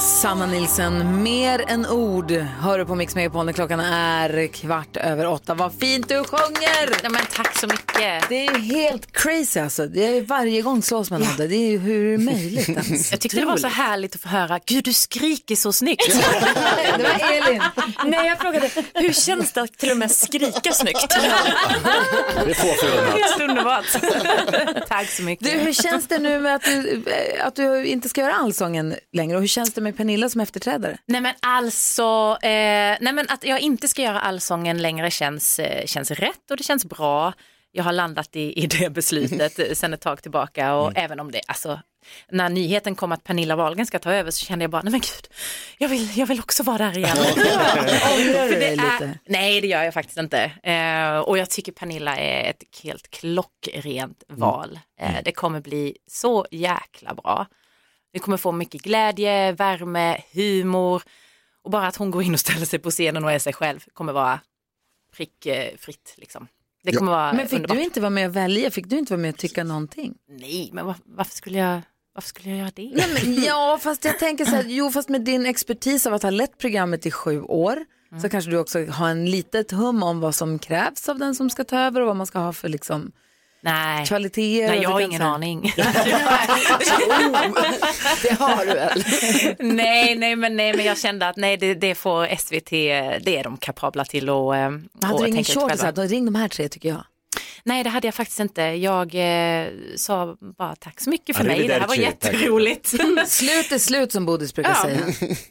Speaker 1: Sanna Nilsson, mer än ord. Hör du på Mix Megapol när klockan är kvart över åtta. Vad fint du sjunger!
Speaker 17: Ja, men tack så mycket.
Speaker 1: Det är ju helt crazy alltså. Det är varje gång slås man av det. Det är ju hur är det möjligt ens?
Speaker 17: Jag tyckte det var så härligt att få höra, gud du skriker så snyggt.
Speaker 1: det var Elin.
Speaker 11: Nej, jag frågade, hur känns det att till och med skrika snyggt?
Speaker 5: Det får förunnat.
Speaker 17: Helt underbart. Tack så mycket.
Speaker 1: Du, hur känns det nu med att du, eh, att du inte ska göra allsången längre? Och hur känns det med Pernilla som efterträdare?
Speaker 17: Nej men alltså, eh, nej men att jag inte ska göra allsången längre känns, eh, känns rätt och det känns bra. Jag har landat i, i det beslutet eh, sedan ett tag tillbaka och även om det, alltså när nyheten kom att Pernilla Wahlgren ska ta över så kände jag bara, nej men gud, jag vill, jag vill också vara där igen.
Speaker 1: Ångrar du
Speaker 17: För det
Speaker 1: dig lite?
Speaker 17: är, nej det gör jag faktiskt inte. Eh, och jag tycker Pernilla är ett helt klockrent val. Eh, det kommer bli så jäkla bra. Vi kommer få mycket glädje, värme, humor och bara att hon går in och ställer sig på scenen och är sig själv kommer vara prickfritt. Liksom. Det kommer vara
Speaker 1: Men fick
Speaker 17: underbart.
Speaker 1: du inte vara med och välja? Fick du inte vara med och tycka någonting?
Speaker 17: Nej, men var, varför, skulle jag, varför skulle jag göra det?
Speaker 1: Nej, men, ja, fast jag tänker så här, jo, fast med din expertis av att ha lett programmet i sju år så kanske du också har en litet hum om vad som krävs av den som ska ta över och vad man ska ha för liksom,
Speaker 17: Nej.
Speaker 1: kvaliteter.
Speaker 17: Nej,
Speaker 1: och
Speaker 17: jag
Speaker 1: du
Speaker 17: har
Speaker 1: kan
Speaker 17: ingen
Speaker 1: så här-
Speaker 17: aning.
Speaker 1: Oh. det har du väl?
Speaker 17: nej, nej men, nej, men jag kände att nej, det, det får SVT, det är de kapabla till att eh,
Speaker 1: Hade du
Speaker 17: att
Speaker 1: ingen
Speaker 17: tänka ut
Speaker 1: shorty
Speaker 17: själva.
Speaker 1: så här, då ring de här tre tycker jag.
Speaker 17: Nej, det hade jag faktiskt inte. Jag eh, sa bara tack så mycket för mig. Det här var
Speaker 1: Arrivederci, tack.
Speaker 17: jätteroligt.
Speaker 1: slut är slut som Bodis brukar säga.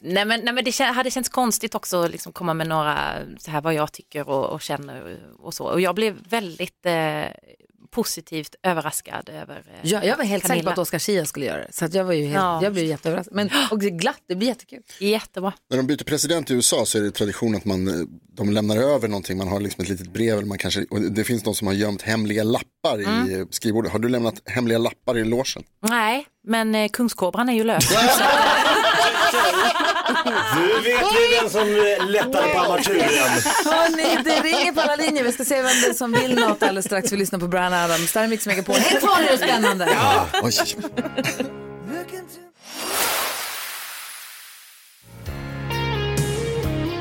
Speaker 17: nej, men, nej, men det kän- hade känts konstigt också att liksom komma med några, så här vad jag tycker och, och känner och så. Och jag blev väldigt eh, positivt överraskad över eh,
Speaker 1: Ja, jag var helt säker på
Speaker 17: Camilla.
Speaker 1: att Oscar Schia skulle göra det. Så att jag, var ju helt,
Speaker 17: Ja.
Speaker 1: jag blev ju jätteöverraskad. Men och det är glatt, det blir jättekul.
Speaker 17: Jättebra.
Speaker 9: När de byter president i USA så är det tradition att man, eh, de lämnar över någonting. Man har liksom ett litet brev. Eller man kanske, och det finns de som har gömt hemliga lappar i
Speaker 1: Mm.
Speaker 9: eh, skrivbordet. Har du lämnat hemliga lappar i logen?
Speaker 17: Nej, men eh, kungskobran är ju lös.
Speaker 5: Nu vet vi vem som eh, lättar på armaturen.
Speaker 1: Hörni, det ringer på alla linjer. Vi ska se vem det är som vill något alldeles strax. Vi lyssnar på Brian Adams. Där är Mix Megapol. Häng kvar nu, det är spännande.
Speaker 9: Oj.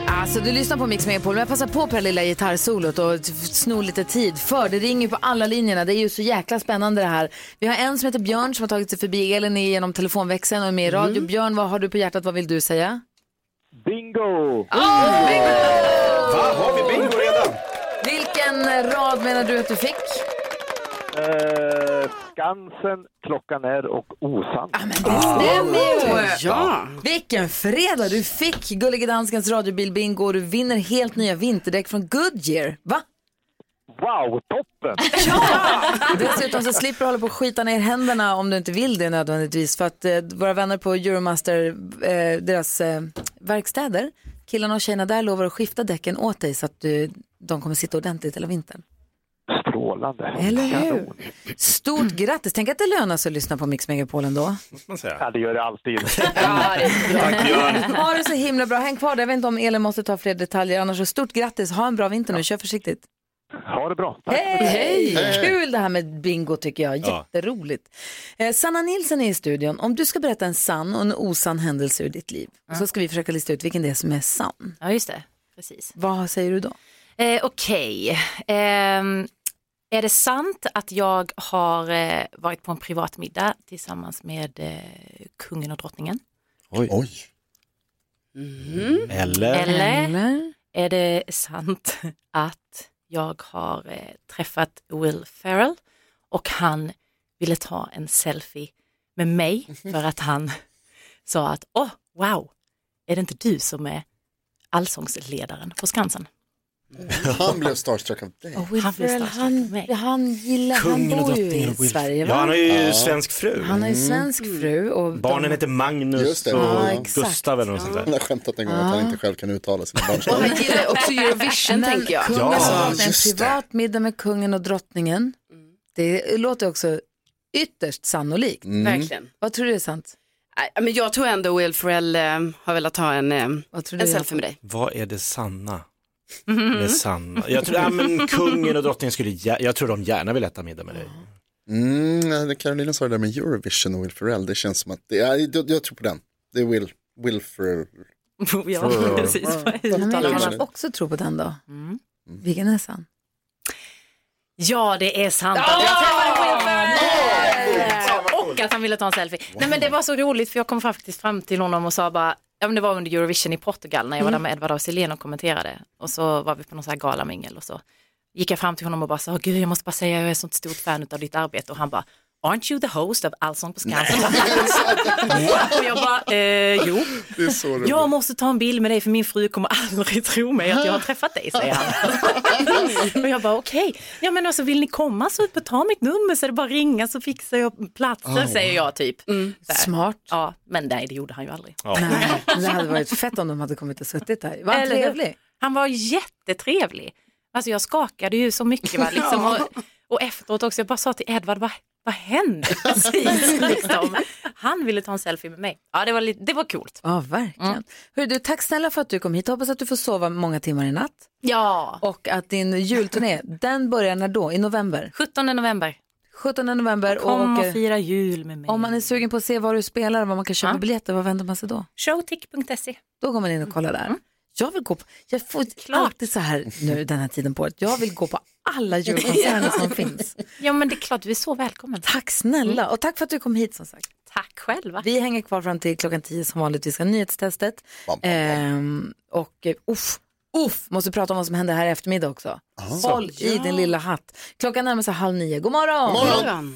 Speaker 1: Alltså, du lyssnar på Mix Megapol, men jag passar på på det lilla gitarrsolot och t- snor lite tid. För det ringer ju på alla linjerna. Det är ju så jäkla spännande det här. Vi har en som heter Björn som har tagit sig förbi Elin genom telefonväxeln och är med i radio.
Speaker 5: Mm.
Speaker 1: Björn, vad har du på hjärtat? Vad vill du säga?
Speaker 22: Bingo!
Speaker 5: Va, har vi bingo redan?
Speaker 1: Vilken rad menar du att du fick?
Speaker 22: Eh, Skansen, klockan är och osann.
Speaker 1: Stämmer ju!
Speaker 22: Ja.
Speaker 1: Vilken fredag! Du fick Gullige Danskens radiobilbingo och du vinner helt nya vinterdäck från Goodyear. Va?
Speaker 22: wow, toppen!
Speaker 1: Dessutom så slipper du hålla på och skita ner händerna om du inte vill det nödvändigtvis. För att eh, våra vänner på Euromaster, eh, deras eh, verkstäder, killarna och tjejerna där lovar att skifta däcken åt dig så att du, de kommer sitta ordentligt hela vintern.
Speaker 22: Strålande.
Speaker 1: Eller hur? Stort grattis! Tänk att det lönar sig att lyssna på Mix Megapol ändå.
Speaker 22: Ja, det gör det alltid.
Speaker 1: Ha det så himla bra. Häng kvar där. Jag vet inte om Elin måste ta fler detaljer. Annars så stort grattis. Ha en bra vinter nu. Kör försiktigt.
Speaker 22: Ha det bra.
Speaker 1: Hej!
Speaker 22: Hej.
Speaker 1: Kul det här med bingo tycker jag. Jätteroligt. Eh, Sanna Nilsson är i studion. Om du ska berätta en sann och en osann händelse ur ditt liv så ska vi försöka lista ut vilken det är som är sann.
Speaker 17: Ja, just det. Precis.
Speaker 1: Vad säger du då?
Speaker 17: Eh, Okej. Ehm, är det sant att jag har eh, varit på en privat middag tillsammans med eh, kungen och drottningen?
Speaker 5: Oj.
Speaker 1: Mm-hmm.
Speaker 5: Eller?
Speaker 17: Eller, är det sant att jag har eh, träffat Will Ferrell och han ville ta en selfie med mig för att han sa att åh, wow, är det inte du som är allsångsledaren på Skansen?
Speaker 9: Han blev starstruck av dig.
Speaker 1: Och Will
Speaker 17: Han blir
Speaker 1: Ferrell,
Speaker 17: starstruck
Speaker 1: han, han gillar, han
Speaker 5: Kungen och
Speaker 1: bor ju
Speaker 5: drottningen
Speaker 1: i
Speaker 5: och Will-
Speaker 1: Sverige va?
Speaker 5: Ja, han har ju svensk fru.
Speaker 1: Han har ju
Speaker 5: Mm.
Speaker 1: svensk fru. Och
Speaker 5: Barnen
Speaker 1: de-
Speaker 5: heter Magnus
Speaker 9: Just det.
Speaker 5: och
Speaker 9: Ja, exakt.
Speaker 5: Gustav eller något sånt
Speaker 9: Han har
Speaker 5: där.
Speaker 9: skämtat en gång att han inte själv kan uttala sina barns
Speaker 6: Och
Speaker 9: namn.
Speaker 6: han gillar också Eurovision
Speaker 1: Men
Speaker 6: tänker jag.
Speaker 1: Kungen
Speaker 9: Ja,
Speaker 1: ja, en
Speaker 9: just det.
Speaker 1: privat middag med kungen och drottningen. Det låter också ytterst sannolikt.
Speaker 6: Mm. Verkligen.
Speaker 1: Vad tror du är sant?
Speaker 6: Nej, Äh, Men jag tror ändå Will Ferrell eh, har velat ta en, eh,
Speaker 1: du,
Speaker 6: en selfie med dig.
Speaker 5: Vad är det sanna?
Speaker 1: Mm.
Speaker 5: Med sanna. Jag tror, ja, men kungen och drottningen skulle, gär- jag tror de gärna vill äta middag med dig.
Speaker 9: Mm, nej, Carolina sa det där med Eurovision och Will Ferrell. Det känns som att, det, jag, jag, jag tror på den. Det är Will, Will Ferrell.
Speaker 17: ja,
Speaker 9: Ferrell.
Speaker 17: precis. Mm. Vad
Speaker 1: Ja, men
Speaker 17: uttalar
Speaker 1: jag
Speaker 17: man
Speaker 1: kan
Speaker 17: det?
Speaker 1: också tro på den då. Vilken är sann?
Speaker 17: Ja, det är sant. att Jag träffade Will Ferrell! Och att han ville ta en selfie. Nej, men det var så roligt för jag kom faktiskt fram till honom och sa bara, ja, men det var under Eurovision i Portugal när jag var där
Speaker 1: Mm.
Speaker 17: med Edvard af Sillén och kommenterade. Och så var vi på någon så här galamingel och så gick jag fram till honom och bara sa, "Åh, gud jag måste bara säga jag är ett sånt stort fan av ditt arbete. Och han bara, aren't you the host of Allsång på Skansen? och jag bara, eh, jo.
Speaker 9: Det är så roligt.
Speaker 17: Jag måste ta en bild med dig för min fru kommer aldrig tro mig att jag har träffat dig, säger han. och jag bara okej, ja men alltså vill ni komma så ta mitt nummer så är det bara att ringa så fixar jag platser,
Speaker 1: Oh.
Speaker 17: säger jag typ. Så här.
Speaker 1: Smart.
Speaker 17: Ja, men nej det gjorde han ju aldrig.
Speaker 1: Nej, men det hade varit fett om de hade kommit och suttit där. Vad
Speaker 17: Eller hur?
Speaker 1: trevlig.
Speaker 17: Han var jättetrevlig. Alltså jag skakade ju så mycket va? Liksom, och, och efteråt också, jag bara sa till Edvard, vad, vad hände precis? liksom. Han ville ta en selfie med mig. Ja, det var, lite, det var coolt.
Speaker 1: Ja, verkligen.
Speaker 17: Mm.
Speaker 1: Hörru du, tack snälla för att du kom hit. Hoppas att du får sova många timmar i natt.
Speaker 17: Ja.
Speaker 1: Och att din julturné, den börjar när då? I november?
Speaker 17: 17 november.
Speaker 1: 17 november.
Speaker 17: Kom och
Speaker 1: eh,
Speaker 17: fira jul med mig.
Speaker 1: Om man är sugen på att se var du spelar och var man kan köpa biljetter, vad vänder man sig då?
Speaker 17: Showtick.se.
Speaker 1: Då går man in och kollar där.
Speaker 17: Mm.
Speaker 1: Jag vill gå på, jag får alltid så här nu den här tiden på året, jag vill gå på alla julkonserter som finns.
Speaker 17: Ja, men det är klart, du är så Mm. välkommen.
Speaker 1: Tack snälla och tack för att du kom hit som sagt.
Speaker 17: Tack själva.
Speaker 1: Vi hänger kvar fram till klockan 10 som vanligt, vi ska ha nyhetstestet. Ehm, och eh, uff, uff, måste prata om vad som händer här i eftermiddag också.
Speaker 10: Ah.
Speaker 1: Håll i
Speaker 10: Ja.
Speaker 1: din lilla hatt. Klockan närmar sig halv nio, god morgon!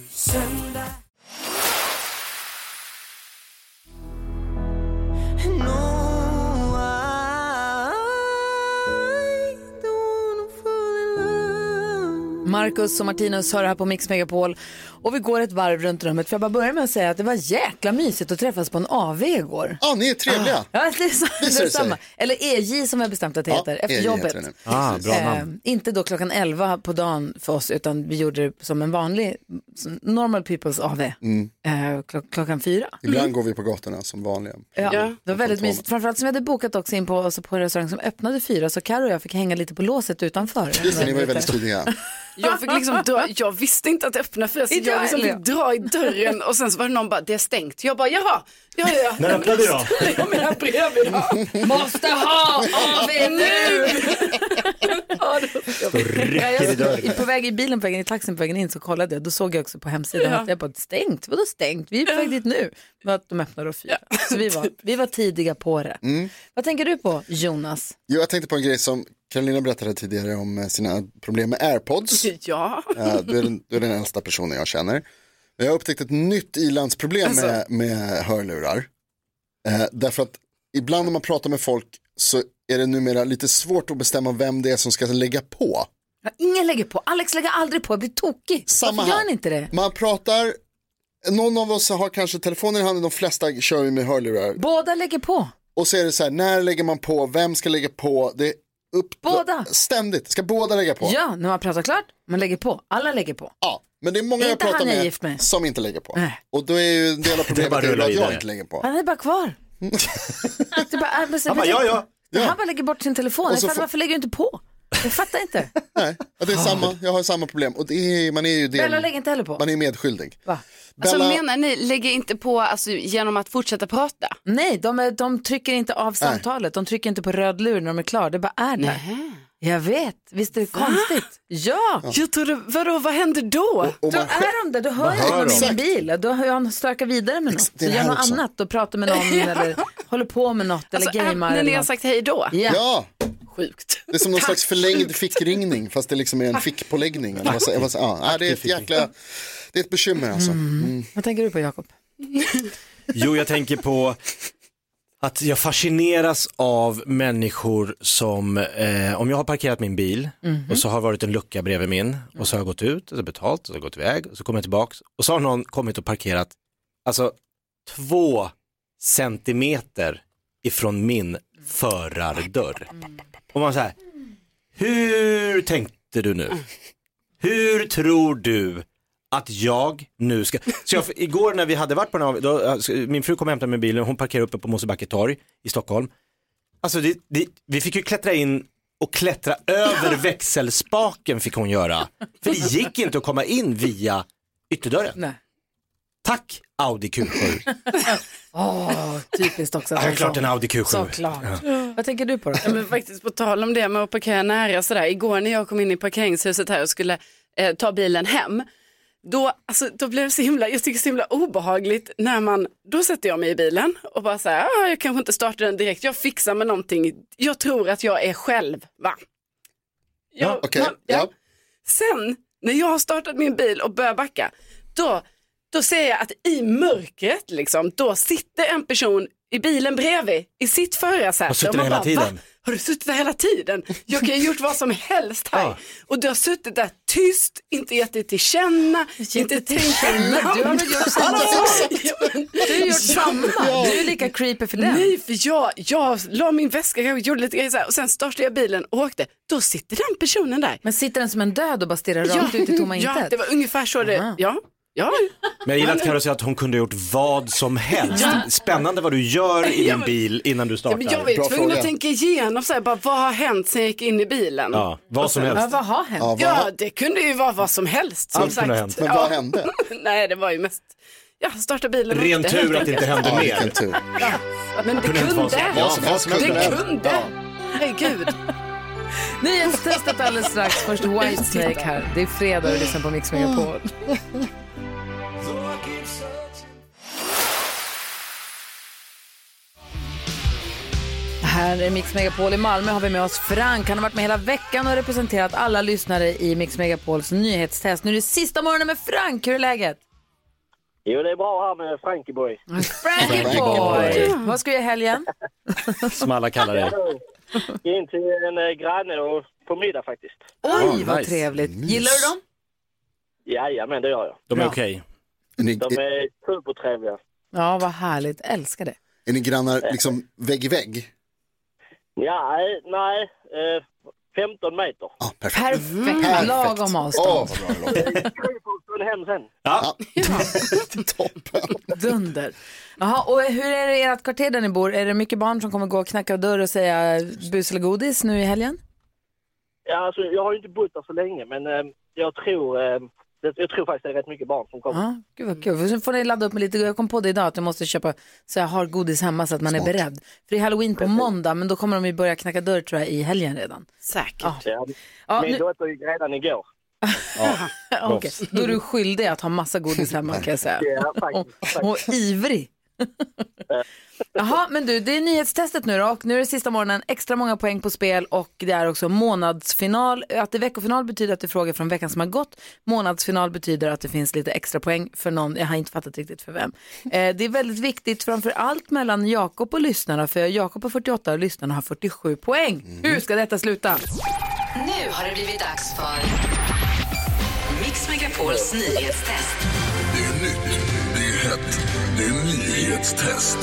Speaker 1: Marcus och Martinus hör här på Mix Megapol och vi går ett varv runt rummet. För jag bara börja med att säga att det var jäkla mysigt att träffas på en AV igår. Ah.
Speaker 9: Ja, ni är trevliga.
Speaker 1: Ja, det är så,
Speaker 9: Visar det sig.
Speaker 1: detsamma. Eller EJ som jag bestämt att det heter, efter
Speaker 9: EJ heter
Speaker 1: jobbet. Eh,
Speaker 9: det nu. Ah, bra namn.
Speaker 1: inte då klockan 11 på dagen för oss, utan vi gjorde det som en vanlig, som normal people's AV,
Speaker 9: Mm.
Speaker 1: eh, klock, klockan fyra.
Speaker 9: Ibland
Speaker 5: Mm.
Speaker 9: går vi på gatorna som vanliga.
Speaker 1: Ja, det var väldigt mysigt. Framförallt som vi hade bokat också in på, alltså på en restaurang som öppnade fyra, så Karo och jag fick hänga lite på låset utanför.
Speaker 9: Just det, ni var ju väldigt tidiga.
Speaker 6: Jag fick liksom dra, jag visste inte att det öppnade för så
Speaker 1: Inte jag
Speaker 6: jag liksom
Speaker 1: heller.
Speaker 6: fick dra i dörren och sen så var det någon bara, det är stängt. Jag bara, jaha, ja ja.
Speaker 5: När öppnade jag?
Speaker 6: Jag menar bredvid då.
Speaker 1: Måste ha
Speaker 6: av nu.
Speaker 1: Ja,
Speaker 5: Rycker i dörren.
Speaker 1: jag, på väg i bilen, på vägen i taxin, på vägen in så kollade jag. Då såg jag också på hemsidan
Speaker 6: Ja.
Speaker 1: att jag bara stängt. Vadå stängt? Vi är på väg dit nu. Men att de öppnar då fyra. Så vi var, vi var tidiga på det.
Speaker 9: Mm.
Speaker 1: Vad tänker du på Jonas?
Speaker 9: Jo, jag tänkte på en grej som Carolina berättade tidigare om eh, sina problem med airpods.
Speaker 6: Ja.
Speaker 9: Eh, Du är, den- du är den äldsta personen jag känner. Men jag har upptäckt ett nytt ilandsproblem med, med hörlurar. Eh, därför att ibland när man pratar med folk så är det numera lite svårt att bestämma vem det är som ska lägga på.
Speaker 1: Ja, ingen lägger på. Alex lägger aldrig på. Jag blir tokig.
Speaker 9: Samma
Speaker 1: Varför gör
Speaker 9: här.
Speaker 1: ni inte det?
Speaker 9: Man pratar, någon av oss har kanske telefonen i handen, de flesta kör ju med hörlurar.
Speaker 1: Båda lägger på.
Speaker 9: Och så är det så här, när lägger man på, vem ska lägga på? Det är upp
Speaker 1: Båda.
Speaker 9: Ständigt, ska båda lägga på?
Speaker 1: Ja, när man pratar klart, man lägger på. Alla lägger på.
Speaker 9: Ja, men det är många
Speaker 1: Inte
Speaker 9: jag pratar
Speaker 1: han jag är
Speaker 9: med,
Speaker 1: gift med.
Speaker 9: som inte lägger på. Och då är ju en del av
Speaker 5: Det är bara
Speaker 9: problemet är
Speaker 5: rulla
Speaker 9: att jag
Speaker 5: vidare.
Speaker 9: inte lägger på.
Speaker 1: Han är bara kvar. det är bara, han,
Speaker 9: Han bara, ja, ja.
Speaker 1: han bara lägger bort sin telefon.
Speaker 9: Och
Speaker 1: Jag
Speaker 9: så
Speaker 1: fattar,
Speaker 9: får-
Speaker 1: Varför lägger du inte på? Jag fattar inte.
Speaker 9: Ja, det är samma, jag har samma problem och det är, man är ju del,
Speaker 1: Bella lägger inte heller på.
Speaker 9: man är medskyldig.
Speaker 6: Alltså
Speaker 9: Bella-
Speaker 6: menar ni, lägger inte på alltså, genom att fortsätta prata?
Speaker 1: Nej, de, är, de trycker inte av samtalet. De trycker inte på röd lur när de är klara. Det bara är där. Jag vet, visst är det konstigt? Ja!
Speaker 6: Jag trodde, vadå, vad händer då?
Speaker 1: Då är de där, då hör
Speaker 6: Man
Speaker 1: jag
Speaker 6: hör
Speaker 1: honom i min
Speaker 6: dem.
Speaker 1: bil. Då hör jag honom stöka vidare med något.
Speaker 6: det
Speaker 1: Så
Speaker 6: är det
Speaker 1: gör
Speaker 6: här
Speaker 1: något
Speaker 6: också.
Speaker 1: annat och pratar med någon
Speaker 6: Ja.
Speaker 1: eller håller på med något eller
Speaker 6: Alltså, är-
Speaker 1: gamear.
Speaker 6: när ni
Speaker 1: eller
Speaker 6: har
Speaker 1: något.
Speaker 6: sagt hej då?
Speaker 1: Ja.
Speaker 9: Ja,
Speaker 6: Sjukt.
Speaker 9: det är som någon slags förlängd fickringning fast det liksom är en fickpåläggning. Eller vad säger- vad säger- ja, nej, det är ett jäkla, det är ett bekymmer alltså. Mm.
Speaker 1: Vad tänker du på Jakob?
Speaker 5: Jo, jag tänker på att jag fascineras av människor som, eh, om jag har parkerat min bil
Speaker 23: Mhm.
Speaker 5: och så har varit en lucka bredvid min och så har jag gått ut och så betalt och så har jag gått iväg och så kommer jag tillbaks och så har någon kommit och parkerat, alltså två centimeter ifrån min förardörr. Och man säger, hur tänkte du nu? Hur tror du att jag nu ska... Så jag, igår när vi hade varit på den här, då, alltså, min fru kom och hämtade mig i bilen, hon parkerade uppe på Mosebacke torg i Stockholm. Alltså det, det, vi fick ju klättra in och klättra över växelspaken fick hon göra. För det gick inte att komma in via ytterdörren.
Speaker 1: Nej.
Speaker 5: Tack Audi Q7.
Speaker 1: Åh, typiskt också.
Speaker 5: Ja, det är klart en Audi Q7.
Speaker 1: Såklart.
Speaker 5: Ja.
Speaker 1: Vad tänker du på då?
Speaker 6: Ja, men faktiskt på tal om det med att parkera nära sådär. Igår när jag kom in i parkeringshuset här och skulle eh, ta bilen hem. Då, alltså, då blev det så himla, jag tycker det är så himla obehagligt när man, då sätter jag mig i bilen och bara så här, ah, jag kanske inte startar den direkt, jag fixar med någonting, jag tror att jag är själv va.
Speaker 9: Ja, Okej,
Speaker 6: man-
Speaker 9: ja.
Speaker 6: Sen när jag har startat min bil och börjar backa, då, då ser jag att i mörkret liksom, då sitter en person i bilen bredvid, i sitt förarsäte.
Speaker 5: Har suttit
Speaker 6: Och man
Speaker 5: där hela
Speaker 6: bara,
Speaker 5: tiden?
Speaker 6: "Va? Har du suttit där hela tiden? Jag kan ju ha gjort vad som helst här. Och du har suttit där tyst, inte gett dig till känna, inte tänkt på
Speaker 1: Men du har väl
Speaker 6: namn.
Speaker 1: gjort samma sak? Du har gjort samma. Du är lika creepy för den.
Speaker 6: Nej, för jag, jag la min väska, jag gjorde lite grejer så här, och sen startade jag bilen och åkte. Då sitter den personen där.
Speaker 1: Men sitter den som en död och bara stirrar rakt ut i tomma
Speaker 6: Ja,
Speaker 1: intet?
Speaker 6: det var ungefär så det, ja. ja.
Speaker 5: Men jag gillar att Carro säger att hon kunde ha gjort vad som helst.
Speaker 6: Ja.
Speaker 5: Spännande vad du gör i
Speaker 6: Ja,
Speaker 5: din
Speaker 6: men-
Speaker 5: bil innan du
Speaker 6: Ja,
Speaker 5: startar.
Speaker 6: men jag var ju tvungen att tänka igenom, så här, bara, vad har hänt sen jag gick in i bilen?
Speaker 5: Ja, vad
Speaker 6: Och
Speaker 5: som
Speaker 6: sen-
Speaker 5: helst. Ja, vad
Speaker 1: har hänt?
Speaker 6: Ja,
Speaker 5: Ja, vad-
Speaker 6: det kunde ju vara vad som helst. Som
Speaker 5: Allt
Speaker 6: sagt.
Speaker 5: kunde ha hänt.
Speaker 6: Ja.
Speaker 5: Men vad hände?
Speaker 6: Nej, det var ju mest, ja, starta bilen och
Speaker 5: Ren
Speaker 6: åkte,
Speaker 5: tur
Speaker 6: helt
Speaker 5: att det inte
Speaker 6: enkelt.
Speaker 5: hände
Speaker 6: Ja,
Speaker 5: mer.
Speaker 6: vilken
Speaker 9: tur.
Speaker 6: Ja, men det
Speaker 5: kunde inte vara så.
Speaker 6: kunde.
Speaker 5: Vad som helst kunde
Speaker 6: Det
Speaker 5: hända.
Speaker 6: kunde. Herregud.
Speaker 1: Nyhetstestet alldeles strax. Först Whitesnake här. Det är fredag och du lyssnar på Mix Megapol. Här är Mix Megapol i Malmö har vi med oss Frank. Han har varit med hela veckan och representerat alla lyssnare i Mix Megapols nyhetstest. Nu är det sista morgonen med Frank. Hur är läget?
Speaker 10: Jo, det är bra här med Frankieboy.
Speaker 1: Boy. Vad ska vi göra i helgen?
Speaker 5: Som alla kallar det.
Speaker 10: Ge in till en eh, granne och på middag faktiskt.
Speaker 1: Oj, vad trevligt. Gillar du dem?
Speaker 10: Jajamän, det gör jag.
Speaker 5: De är okej.
Speaker 10: De är supertrevliga.
Speaker 1: Ja, vad härligt. Älskar det.
Speaker 24: Är ni grannar liksom vägg i vägg?
Speaker 10: Ja, nej, nej, eh, 15 meter.
Speaker 1: Perfekt.
Speaker 10: Perfekt.
Speaker 1: Mm. Lagom
Speaker 10: Åh,
Speaker 1: avstånd.
Speaker 10: vad bra det låter. Från hem sen.
Speaker 5: Ja.
Speaker 1: Dunder. Jaha, och hur är det i ert kvarter där ni bor? Är det mycket barn som kommer gå och knacka dörr och säga bus eller godis nu i helgen?
Speaker 10: Ja, alltså, jag har ju inte bott där så länge, men eh, jag, tror, eh, det- jag tror faktiskt det är rätt mycket barn som kommer.
Speaker 1: Ja, gud vad kul. Sen får ni ladda upp med lite, jag kom på det idag att jag måste köpa så jag har godis hemma så att man är beredd. För det är halloween på måndag men då kommer de ju börja knacka dörr tror jag i helgen redan.
Speaker 10: Säkert.
Speaker 1: Ja.
Speaker 10: Ja.
Speaker 1: Ja,
Speaker 10: Min
Speaker 1: nu-
Speaker 10: dotter gick redan igår.
Speaker 1: Okej, då är du skyldig att ha massa godis hemma kan jag säga.
Speaker 10: Ja, faktiskt.
Speaker 1: Och, och ivrig. Jaha, men du, det är nyhetstestet nu då och nu är det sista morgonen, extra många poäng på spel och det är också månadsfinal. Att det är veckofinal betyder att det är frågor från veckan som har gått. Månadsfinal betyder att det finns lite extra poäng för någon, jag har inte fattat riktigt för vem. Eh, det är väldigt viktigt framför allt mellan Jakob och lyssnarna för Jakob har 48 och lyssnarna har 47 poäng. Hur ska detta sluta?
Speaker 12: Nu har det blivit dags för Mix Megapols nyhetstest.
Speaker 2: Det är nytt, det är hett, det är nyhetstest.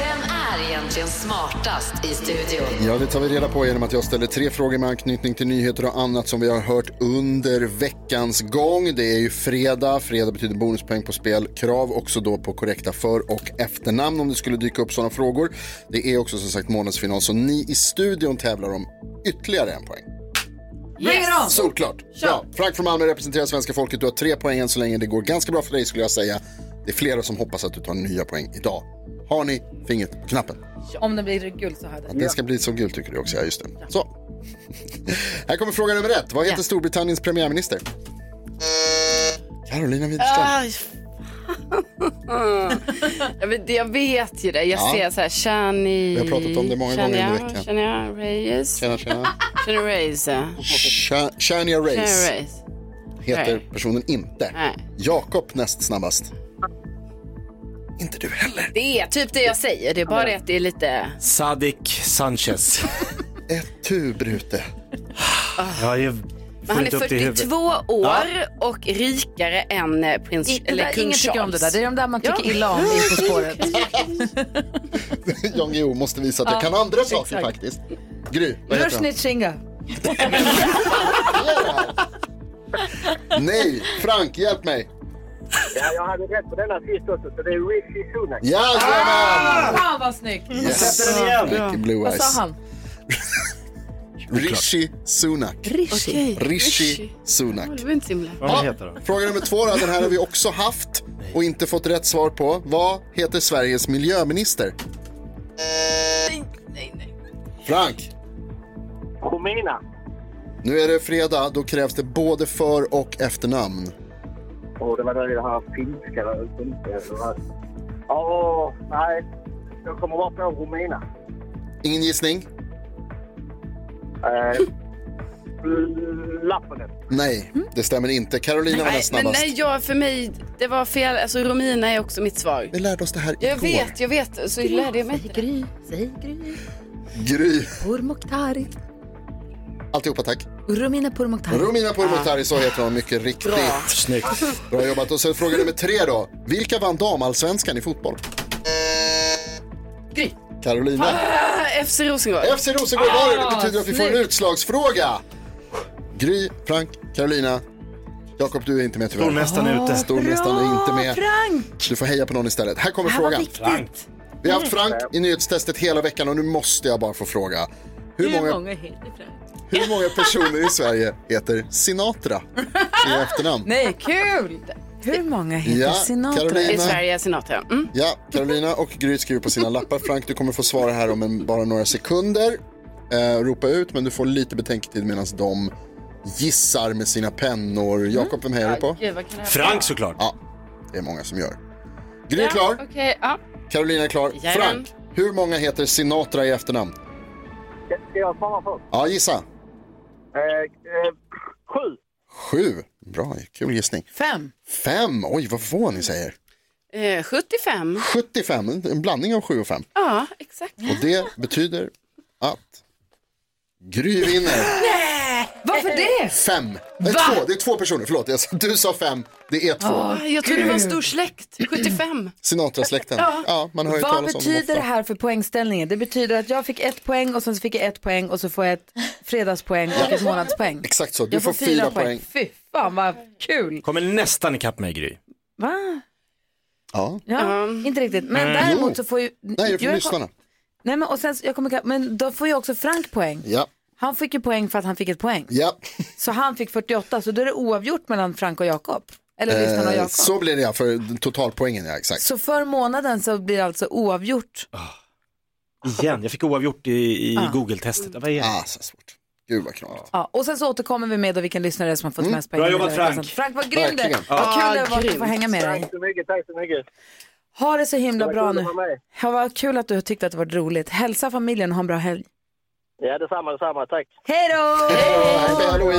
Speaker 12: Vem är egentligen smartast i studion?
Speaker 9: Ja, det tar vi reda på genom att jag ställer tre frågor med anknytning till nyheter och annat som vi har hört under veckans gång. Det är ju fredag. Fredag betyder bonuspoäng på spel. Krav också då på korrekta för och efternamn om det skulle dyka upp sådana frågor. Det är också som sagt månadsfinal, så ni i studion tävlar om ytterligare en poäng.
Speaker 10: Yes!
Speaker 9: Solklart. Ja, Frank från Malmö representerar svenska folket. Du har tre poäng än så länge. Det går ganska bra för dig skulle jag säga. Det är flera som hoppas att du tar nya poäng idag. Har ni fingret på knappen?
Speaker 1: Om den blir gul så har den.
Speaker 9: Att den ska bli så gul tycker du också, ja just det. Så. Här kommer fråga nummer ett. Vad heter Storbritanniens premiärminister? Carolina Widerström.
Speaker 6: Aj, fan. jag, vet, jag vet ju det. Jag
Speaker 9: Ja.
Speaker 6: ser så här, Shani...
Speaker 9: Vi har pratat om det många
Speaker 6: Shania,
Speaker 9: gånger under veckan.
Speaker 6: Shania Reyes.
Speaker 9: Tjena, tjena.
Speaker 6: Shania Reyes. ja.
Speaker 9: Sha- Shania
Speaker 6: Shania
Speaker 9: Race
Speaker 6: Reyes.
Speaker 9: heter
Speaker 6: Nej.
Speaker 9: personen inte.
Speaker 6: Nej.
Speaker 9: Jakob näst snabbast.
Speaker 6: Det är typ det jag säger. Det är bara det att det är lite...
Speaker 5: Sadik Sanchez.
Speaker 9: Ett tu brute.
Speaker 5: Jag har ju
Speaker 6: Men han är
Speaker 5: fullt upp det i huvudet.
Speaker 6: 42 år och rikare än eh, prins
Speaker 1: I- det
Speaker 6: eller
Speaker 1: där-
Speaker 6: kung
Speaker 1: ingen
Speaker 6: Charles.
Speaker 1: tycker om det där. Det är de där man tycker illa om i På spåret.
Speaker 9: Jan Guillou måste visa att jag
Speaker 1: Ja,
Speaker 9: kan andra saker
Speaker 1: exakt.
Speaker 9: faktiskt. Gry, vad heter han?
Speaker 1: Rushnit Shinga.
Speaker 9: Nej, Frank, hjälp mig.
Speaker 25: Ja, jag hade rätt på denna sist också, så det är Rishi Sunak.
Speaker 9: Jajamän!
Speaker 1: Ah, Fan vad snyggt.
Speaker 9: Yes. Sätter den igen. Mycket blue
Speaker 1: Vad
Speaker 9: eyes.
Speaker 1: sa han?
Speaker 9: Rishi Sunak.
Speaker 1: Rishi. Okej.
Speaker 9: Rishi Sunak.
Speaker 6: Det var inte så himla...
Speaker 9: Ja, fråga nummer två då. Den här har vi också haft och inte fått rätt svar på. Vad heter Sveriges miljöminister? Frank,
Speaker 25: Khomina.
Speaker 9: nu är det fredag. Då krävs det både för och efternamn.
Speaker 25: Åh, det var det här finska. där ute, inte det här. Åh, nej. Jag kommer bara på Romina.
Speaker 9: Ingen gissning?
Speaker 25: Eh, Lapponen.
Speaker 9: Nej, det stämmer inte. Carolina var
Speaker 6: Nej,
Speaker 9: näst
Speaker 6: men
Speaker 9: snabbast.
Speaker 6: nej, jag, för mig, det var fel. Alltså, Romina är också mitt svar.
Speaker 9: Vi lärde oss det här
Speaker 6: Jag
Speaker 9: igår.
Speaker 6: vet, jag vet. Så lärde jag mig inte det.
Speaker 1: Säg Gry.
Speaker 9: Gry.
Speaker 1: Pourmokhtari.
Speaker 9: Alltihopa tack.
Speaker 1: Romina Pourmokhtari.
Speaker 9: Romina Pourmokhtari, så heter hon mycket riktigt.
Speaker 1: Ah. Bra.
Speaker 5: Snyggt.
Speaker 9: Bra jobbat. Och så fråga nummer tre då. Vilka vann damallsvenskan i fotboll?
Speaker 6: Gry.
Speaker 9: Carolina.
Speaker 6: Ah, FC Rosengård.
Speaker 9: FC Rosengård var det.
Speaker 1: Ah,
Speaker 9: Det betyder att vi får en utslagsfråga. Gry, Frank, Carolina. Jakob, du är inte med tyvärr.
Speaker 5: Stormästaren är ute.
Speaker 9: Stormästaren är inte med.
Speaker 1: Frank!
Speaker 9: Du får heja på någon istället. Här kommer
Speaker 1: Det här var
Speaker 9: frågan.
Speaker 1: viktigt.
Speaker 9: Vi har haft Frank i nyhetstestet hela veckan och nu måste jag bara få fråga. Hur många,
Speaker 1: heter Frank?
Speaker 9: hur många personer i Sverige heter Sinatra i efternamn?
Speaker 1: Nej, kul! Hur många heter
Speaker 9: Ja,
Speaker 1: Sinatra?
Speaker 9: Carolina.
Speaker 6: I Sverige är Sinatra. Mm.
Speaker 9: Ja, Carolina och Gry skriver på sina lappar. Frank, du kommer få svara här om en, bara några sekunder. Eh, ropa ut, men du får lite betänketid medan de gissar med sina pennor. Jakob, vem hejar du på?
Speaker 6: Mm. Gud, vad kan det här vara?
Speaker 5: Frank såklart.
Speaker 9: Ja, det är många som gör. Gry är klar,
Speaker 6: Ja, Okej, ja.
Speaker 9: Carolina är klar.
Speaker 6: Jajamän.
Speaker 9: Frank, hur många heter Sinatra i efternamn?
Speaker 25: Ska ska jag svara först?
Speaker 9: Ja, gissa.
Speaker 25: Eh, eh, sju.
Speaker 9: Sju. Bra, kul gissning.
Speaker 1: Fem.
Speaker 9: Fem, oj vad få ni säger.
Speaker 6: Eh, 75.
Speaker 9: 75, en en blandning av sju och fem.
Speaker 6: Ja, exakt.
Speaker 9: Och det betyder att Gry vinner.
Speaker 1: Varför det?
Speaker 9: Fem. Nej, två. Det är två personer, förlåt. Jag sa- Du sa fem, det är två.
Speaker 6: Åh, jag trodde det var en stor släkt. 75.
Speaker 9: Sinatra-släkten.
Speaker 1: Ja.
Speaker 9: Ja, man hör ju
Speaker 1: Vad
Speaker 9: talas om dem
Speaker 1: betyder det
Speaker 9: ofta.
Speaker 1: här för poängställningen? Det betyder att jag fick ett poäng och sen så fick jag ett poäng och så får jag ett fredagspoäng och ett månadspoäng.
Speaker 9: Exakt så, du
Speaker 1: jag
Speaker 9: får fyra poäng.
Speaker 1: Fy fan vad kul.
Speaker 5: Kommer nästan ikapp mig Gry.
Speaker 1: Va?
Speaker 9: Ja.
Speaker 1: Ja, inte riktigt. Men
Speaker 5: Mm.
Speaker 1: däremot
Speaker 5: Jo.
Speaker 1: så får ju...
Speaker 9: Nej, det är för
Speaker 1: jag-
Speaker 9: lyssnarna.
Speaker 1: Nej, men, och sen, så- jag kommer, men då får ju också Frank poäng.
Speaker 9: Ja.
Speaker 1: Han fick ju poäng för att han fick ett poäng.
Speaker 9: Ja.
Speaker 1: Så han fick 48, så då är det oavgjort mellan Frank och Jakob. Eller lyssnarna och
Speaker 9: Eh,
Speaker 1: Jakob.
Speaker 9: så blir det ja, för totalpoängen ja, exakt.
Speaker 1: Så för månaden så blir det alltså oavgjort.
Speaker 5: Ah. Igen, jag fick oavgjort i, i
Speaker 1: Ah.
Speaker 5: Google-testet. Det var igen.
Speaker 9: Ah, så svårt. Gud vad krångligt.
Speaker 1: Ja, och sen så återkommer vi med då vilken lyssnare som har fått
Speaker 5: Mm.
Speaker 1: mest poäng.
Speaker 5: Bra jobbat,
Speaker 1: i den här
Speaker 5: Frank.
Speaker 1: klassen. Frank, vad grym du
Speaker 5: Verkligen.
Speaker 1: är. Vad
Speaker 25: Ja,
Speaker 1: kul det var att
Speaker 25: Ah, grymt.
Speaker 1: få hänga med dig.
Speaker 25: Tack så mycket, tack så mycket.
Speaker 1: Ha det så himla
Speaker 25: Det var
Speaker 1: bra
Speaker 25: kul
Speaker 1: nu.
Speaker 25: att vara med.
Speaker 1: Ja, vad kul att du har tyckt att det var roligt. Hälsa familjen och ha en bra helg.
Speaker 25: Ja, detsamma, detsamma. Tack.
Speaker 1: Hej då!
Speaker 9: Hej, hallå!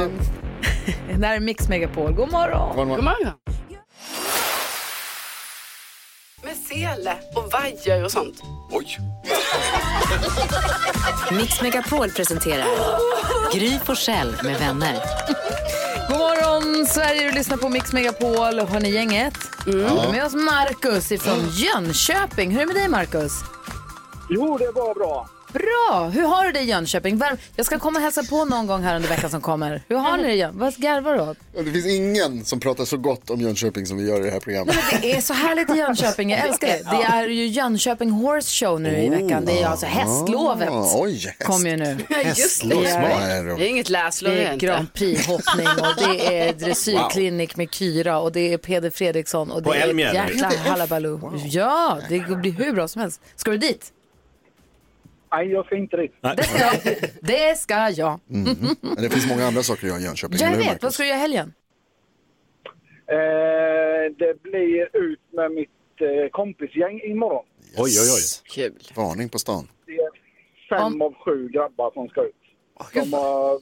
Speaker 1: Det här är Mix Megapol. God morgon!
Speaker 9: God
Speaker 6: morgon. Med sele och vajer och sånt.
Speaker 2: Oj.
Speaker 12: Mix Megapol presenterar Gry Forssell med vänner.
Speaker 1: God morgon Sverige, du lyssnar på Mix Megapol. Har ni gänget?
Speaker 12: Ja.
Speaker 1: Vi har Med oss Markus ifrån Jönköping. Hur är det med dig Markus?
Speaker 25: Jo, det var bra.
Speaker 1: Bra! Hur har du det i Jönköping? Värm- Jag ska komma och hälsa på någon gång här under veckan som kommer. Hur har ni det i Jön- Vad garvar du åt?
Speaker 9: Ja, Det finns ingen som pratar så gott om Jönköping som vi gör i det här programmet.
Speaker 1: Det är så härligt i Jönköping, jag älskar det. Det är ju Jönköping Horse Show nu i veckan. Det är alltså hästlovet.
Speaker 9: Ah, oj, häst.
Speaker 1: Kommer ju nu.
Speaker 6: Ja, just det.
Speaker 9: Hästlås, vad
Speaker 6: Det
Speaker 9: är
Speaker 6: är,
Speaker 9: det?
Speaker 6: inget läslov.
Speaker 1: Det
Speaker 6: är
Speaker 1: är
Speaker 6: inte.
Speaker 1: Grand Prix-hoppning och det är dressyrklinik med Kyra och det är Peder Fredriksson och det
Speaker 6: På
Speaker 1: är
Speaker 6: Elmia,
Speaker 1: ett
Speaker 6: eller?
Speaker 1: jäkla
Speaker 6: Är det F?
Speaker 1: halabaloo. Ja, det blir hur bra som helst. Ska du dit?
Speaker 25: Nej, jag får inte det.
Speaker 1: Det ska jag. Det ska jag.
Speaker 9: Mm. Men det finns många andra saker att göra i Jönköping.
Speaker 1: Jag
Speaker 9: eller hur,
Speaker 1: vet,
Speaker 9: Marcus?
Speaker 1: vad ska du göra i helgen?
Speaker 25: Eh, det blir ut med mitt eh, kompisgäng imorgon.
Speaker 9: Oj, oj, oj. Kul. Varning på stan.
Speaker 25: Det är fem av sju grabbar som ska ut. De har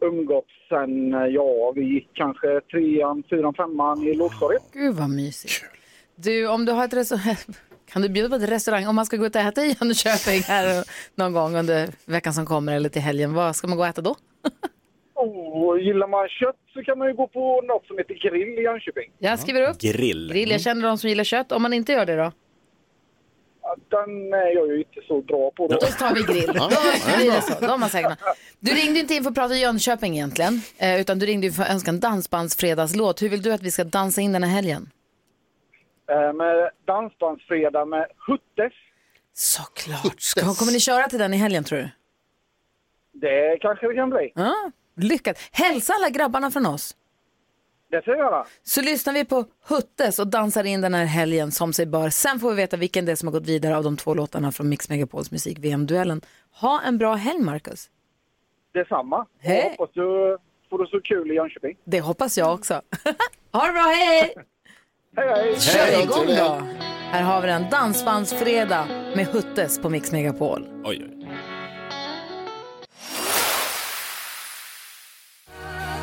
Speaker 25: umgåtts sen, eh, ja, vi gick kanske trean, fyran, femman i lågstadiet.
Speaker 1: Gud vad mysigt. Du, om du har ett restaurang, kan du bjuda på ett restaurang om man ska gå ut och äta i Jönköping här någon gång under veckan som kommer eller till helgen, vad ska man gå och äta då?
Speaker 25: Och gillar man kött så kan man ju gå på något som heter grill i Jönköping.
Speaker 1: Jag skriver upp.
Speaker 5: Grill.
Speaker 6: Mm.
Speaker 1: Grill, jag känner de som gillar kött. Om man inte gör det då?
Speaker 25: Ja, Den är jag ju inte så bra på.
Speaker 1: Då tar vi grill. alltså.
Speaker 25: Ja,
Speaker 1: Då blir det så. De har säkert. Du ringde inte in för att prata Jönköping egentligen, eh, utan du ringde ju för att önska en dansbandsfredagslåt. Hur vill du att vi ska dansa in den här helgen?
Speaker 25: Eh, Med dansbandsfredag med Huttes.
Speaker 1: Såklart. Ska, kommer ni köra till den i helgen tror du?
Speaker 25: Det kanske det kan bli.
Speaker 1: Ja, lyckat. Hälsa alla grabbarna från oss.
Speaker 25: Det ska jag göra.
Speaker 1: Så lyssnar vi på Huttes och dansar in den här helgen som sig bör. Sen får vi veta vilken det är som har gått vidare av de två låtarna från Mix Megapols musik-VM-duellen. Ha en bra helg, Marcus.
Speaker 25: Detsamma.
Speaker 1: Hej.
Speaker 25: Jag hoppas du får det så kul i Jönköping.
Speaker 1: Det hoppas jag också. ha det bra, hej!
Speaker 25: Hej, hej!
Speaker 1: Kör igång då! Här har vi den, Dansbandsfredag med Huttes på Mix Megapol.
Speaker 5: Oj, oj.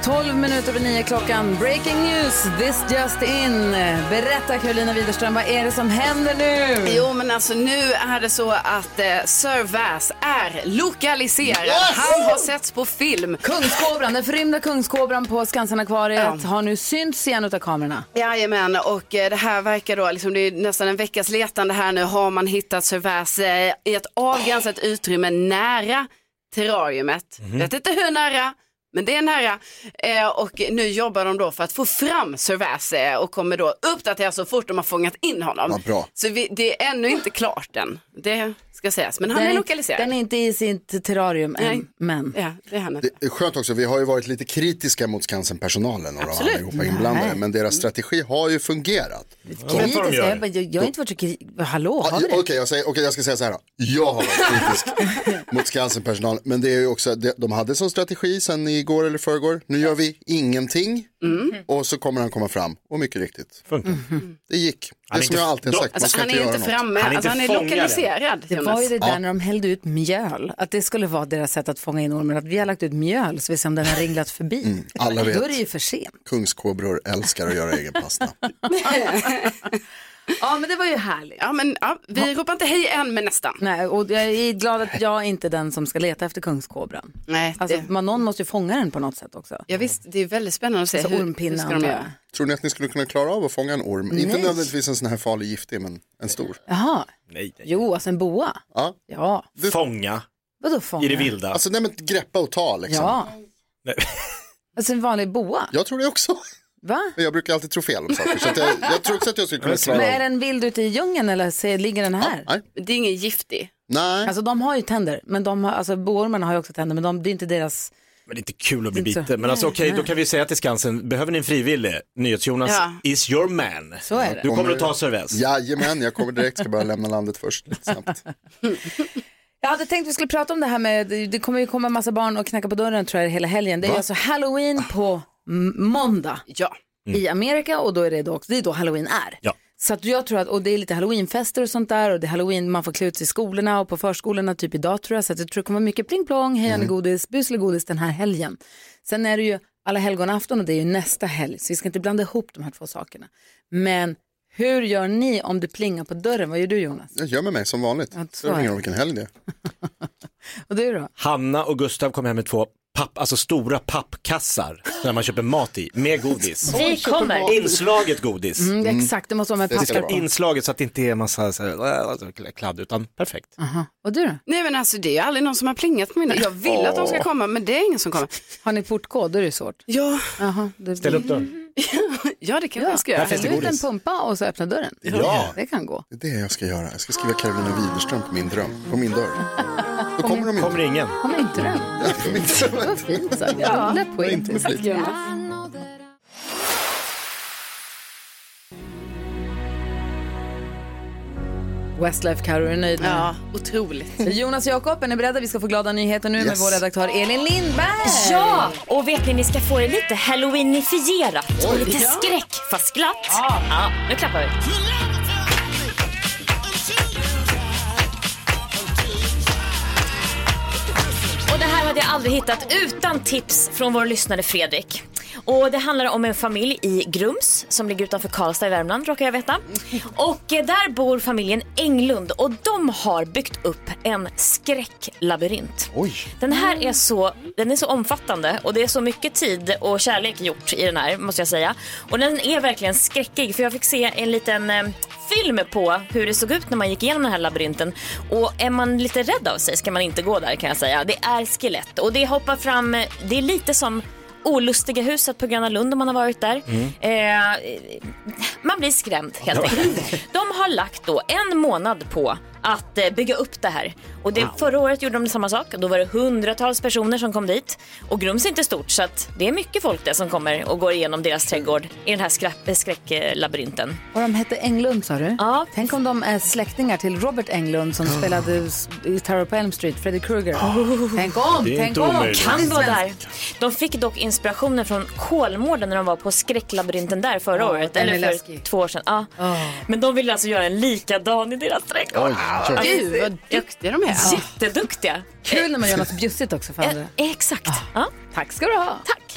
Speaker 1: 12 minuter över nio klockan. Breaking news, this just in. Berätta Carolina Widerström, vad är det som händer nu?
Speaker 6: Jo men alltså nu är det så att eh, Sir Vass är lokaliserad.
Speaker 1: Yes!
Speaker 6: Han har setts på film.
Speaker 1: Kungskobran, den förrymda kungskobran på Skansen-akvariet har nu synts igen utav kamerorna.
Speaker 6: Jajamän, och eh, det här verkar då, liksom, det är nästan en veckas letande här nu, har man hittat Servais eh, i ett avgränsat utrymme nära terrariumet.
Speaker 15: Mhm.
Speaker 6: Vet inte hur nära, men det är nära. Eh, och nu jobbar de då för att få fram Servais eh, och kommer då uppdatera så fort de har fångat in honom.
Speaker 9: Vad bra.
Speaker 6: Så vi, det är ännu inte klart än, det ska sägas. Men han
Speaker 1: Den
Speaker 6: är
Speaker 1: är-
Speaker 6: lokaliserad.
Speaker 1: den är inte i sitt terrarium
Speaker 6: Nej.
Speaker 1: än, men.
Speaker 6: Ja, det är han inte.
Speaker 9: Det är skönt också, vi har ju varit lite kritiska mot Skansen-personalen och
Speaker 6: Absolut.
Speaker 9: allihopa inblandade,
Speaker 1: Nej.
Speaker 9: men deras strategi har ju fungerat.
Speaker 1: Kritiska, jag, bara, jag, jag har inte varit så kritisk. Hallå,
Speaker 9: Ja,
Speaker 1: har vi det?
Speaker 9: Okej, jag, säger- okej, jag ska säga så här då. Jag har varit kritisk mot Skansen-personal, men det är ju också, det- de hade som strategi sen igår eller förrgår, nu gör vi ingenting
Speaker 1: Mm.
Speaker 9: och så kommer han komma fram och mycket riktigt. Det gick, det är som jag alltid har sagt,
Speaker 1: Alltså,
Speaker 9: man ska inte Alltså, göra något.
Speaker 1: Det var ju det där när de hällde ut mjöl, att det skulle vara deras sätt att fånga in ormen, att vi har lagt ut mjöl så vi ser om den har ringlat förbi.
Speaker 9: Mm, alla vet.
Speaker 1: Då är det ju för sent.
Speaker 9: Kungskobror älskar att göra egen pasta.
Speaker 1: ja men det var ju härligt.
Speaker 6: Ja men ja, vi ropar inte hej än men nästan.
Speaker 1: Nej, och jag är glad att jag inte är den som ska leta efter kungskobran.
Speaker 6: Nej,
Speaker 1: alltså, man, någon måste ju fånga den på något sätt också.
Speaker 6: Ja, visst, det är väldigt spännande att se
Speaker 1: Alltså
Speaker 6: hur,
Speaker 1: ormpinnan,
Speaker 6: hur ska de
Speaker 1: antar
Speaker 6: göra.
Speaker 9: Tror ni att ni skulle kunna klara av att fånga en orm? Inte
Speaker 1: Nej.
Speaker 9: nödvändigtvis en sån här farlig giftig, men en stor.
Speaker 1: Jaha,
Speaker 5: Nej.
Speaker 1: jo alltså en boa.
Speaker 9: Ja.
Speaker 1: ja.
Speaker 5: Fånga.
Speaker 1: Vadå fånga?
Speaker 5: I det vilda.
Speaker 9: Alltså nej men greppa och ta liksom.
Speaker 1: Ja,
Speaker 5: Nej.
Speaker 1: alltså en vanlig boa.
Speaker 9: Jag tror det också.
Speaker 1: Va?
Speaker 9: Men jag brukar alltid tro fel om saker. Så att jag, jag tror också att jag skulle kunna
Speaker 1: Men
Speaker 9: klara
Speaker 1: är
Speaker 9: av.
Speaker 1: den vild ute i djungeln eller ser- ligger den här?
Speaker 6: Det är ingen giftig.
Speaker 9: Nej.
Speaker 1: Alltså de har ju tänder, men de har, alltså boormarna har ju också tänder, men de, det är inte deras...
Speaker 5: Men det är inte kul att bli
Speaker 1: Inte så.
Speaker 5: biten. Men alltså
Speaker 1: Nej,
Speaker 5: okej,
Speaker 1: nej.
Speaker 5: då kan vi säga till Skansen, behöver ni en frivillig? NyhetsJonas
Speaker 1: Ja.
Speaker 5: is your man.
Speaker 1: Så är det.
Speaker 5: Du kommer att ta servess.
Speaker 9: Jajamän, jag kommer direkt, ska bara lämna landet först. Lite snabbt.
Speaker 1: Jag hade tänkt att vi skulle prata om det här med, det det kommer ju komma en massa barn och knacka på dörren tror jag hela helgen. Det är
Speaker 12: Va?
Speaker 1: ju alltså halloween på m- måndag
Speaker 6: ja.
Speaker 1: i Amerika och då är det, då också, det är då halloween är.
Speaker 5: Ja.
Speaker 1: Så att jag tror att, och det är lite halloweenfester och sånt där och det är halloween, man får klä ut sig i skolorna och på förskolorna typ idag tror jag. Så att jag tror det kommer vara mycket pling plong, hej mm. godis, bus eller godis den här helgen. Sen är det ju alla helgonafton och det är ju nästa helg, så vi ska inte blanda ihop de här två sakerna. Men Hur gör ni om det plingar på dörren? Vad gör du Jonas?
Speaker 9: Jag gömmer mig som vanligt. Det spelar ingen roll vilken helg det är.
Speaker 1: Och du då?
Speaker 5: Hanna och Gustav kom hem med två papp, alltså stora pappkassar där man köper mat i med godis.
Speaker 1: Vi kommer.
Speaker 5: Inslaget godis.
Speaker 1: Mm, Exakt, det måste vara med
Speaker 5: Det ska
Speaker 1: papper
Speaker 5: vara
Speaker 1: på.
Speaker 5: inslaget så att det inte är massa så här, kladd utan perfekt.
Speaker 1: Och du då?
Speaker 6: Nej men alltså det är ju aldrig någon som har plingat på mina. Jag vill att de ska
Speaker 5: Åh.
Speaker 6: komma men det är ingen som kommer.
Speaker 1: Har ni portkod? Då är det svårt.
Speaker 6: Ja.
Speaker 1: Aha, det...
Speaker 5: Ställ upp dörren.
Speaker 6: Ja det kan jag ska
Speaker 1: Ja,
Speaker 6: göra.
Speaker 1: häll ut en pumpa och så öppna dörren.
Speaker 9: Ja.
Speaker 1: Det kan gå.
Speaker 9: Det är det jag ska göra. Jag ska skriva Carolina Widerström på min dröm, på min dörr. Då kommer de inte. Kommer
Speaker 5: ingen.
Speaker 1: Kommer inte den? Vad fint sagt. Ja, det är poetiskt.
Speaker 9: Tack,
Speaker 1: Westlife Carro är nöjd nu.
Speaker 6: Ja, otroligt.
Speaker 1: Jonas och Jakob, är ni beredda? Vi ska få glada nyheter nu med
Speaker 3: Yes.
Speaker 1: vår redaktör Elin Lindberg.
Speaker 3: Ja, och vet ni, ni ska få det lite halloweenifierat och
Speaker 1: Oj.
Speaker 3: lite
Speaker 1: Ja.
Speaker 3: skräck, fast glatt. Ja. nu klappar vi. Och det här hade jag aldrig hittat utan tips från vår lyssnare Fredrik. Och det handlar om en familj i Grums som ligger utanför Karlstad i Värmland råkar jag veta. Och eh, där bor familjen Englund och de har byggt upp en skräcklabyrint. Den här är så, den är så omfattande och det är så mycket tid och kärlek gjort i den här måste jag säga. Och den är verkligen skräckig för jag fick se en liten eh, film på hur det såg ut när man gick igenom den här labyrinten. Och är man lite rädd av sig ska man inte gå där kan jag säga. Det är skelett och det hoppar fram, eh, det är lite som Olustiga huset på Gröna Lund om man har varit där.
Speaker 16: Mm.
Speaker 3: Eh, man blir skrämd helt enkelt. De har lagt då en månad på att eh, bygga upp det här. Och det, Förra året gjorde de samma sak. Då var det hundratals personer som kom dit. Och Grums är inte stort så att det är mycket folk där som kommer och går igenom deras trädgård i den här skräck- skräcklabyrinten.
Speaker 1: Och de hette Englund sa du? Ja. Tänk om de är släktingar till Robert Englund som spelade s- i Terror på Elm Street, Freddy Krueger. Tänk om,
Speaker 3: Det är
Speaker 1: tänk
Speaker 3: inte
Speaker 1: om.
Speaker 3: omöjligt. Kan vara där. De fick dock inspirationen från Kolmården när de var på skräcklabyrinten där förra
Speaker 1: Ja,
Speaker 3: året.
Speaker 1: den
Speaker 3: Eller
Speaker 1: är
Speaker 3: för
Speaker 1: läskig.
Speaker 3: två år sedan. Ja. Men de ville alltså göra en likadan i deras trädgård. Alltså,
Speaker 1: Oj, oj, oj. Gud, vad
Speaker 6: duktiga de
Speaker 1: är.
Speaker 3: Jätteduktiga.
Speaker 1: Kul när man gör något bjussigt också för andra.
Speaker 3: Exakt. Ja.
Speaker 1: Eh, Tack ska du ha. Tack.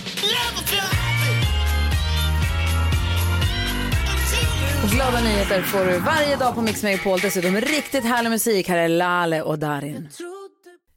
Speaker 1: Och glada nyheter får du varje dag på Mix Megapol. Dessutom riktigt härlig musik. Här är Lale och Darin.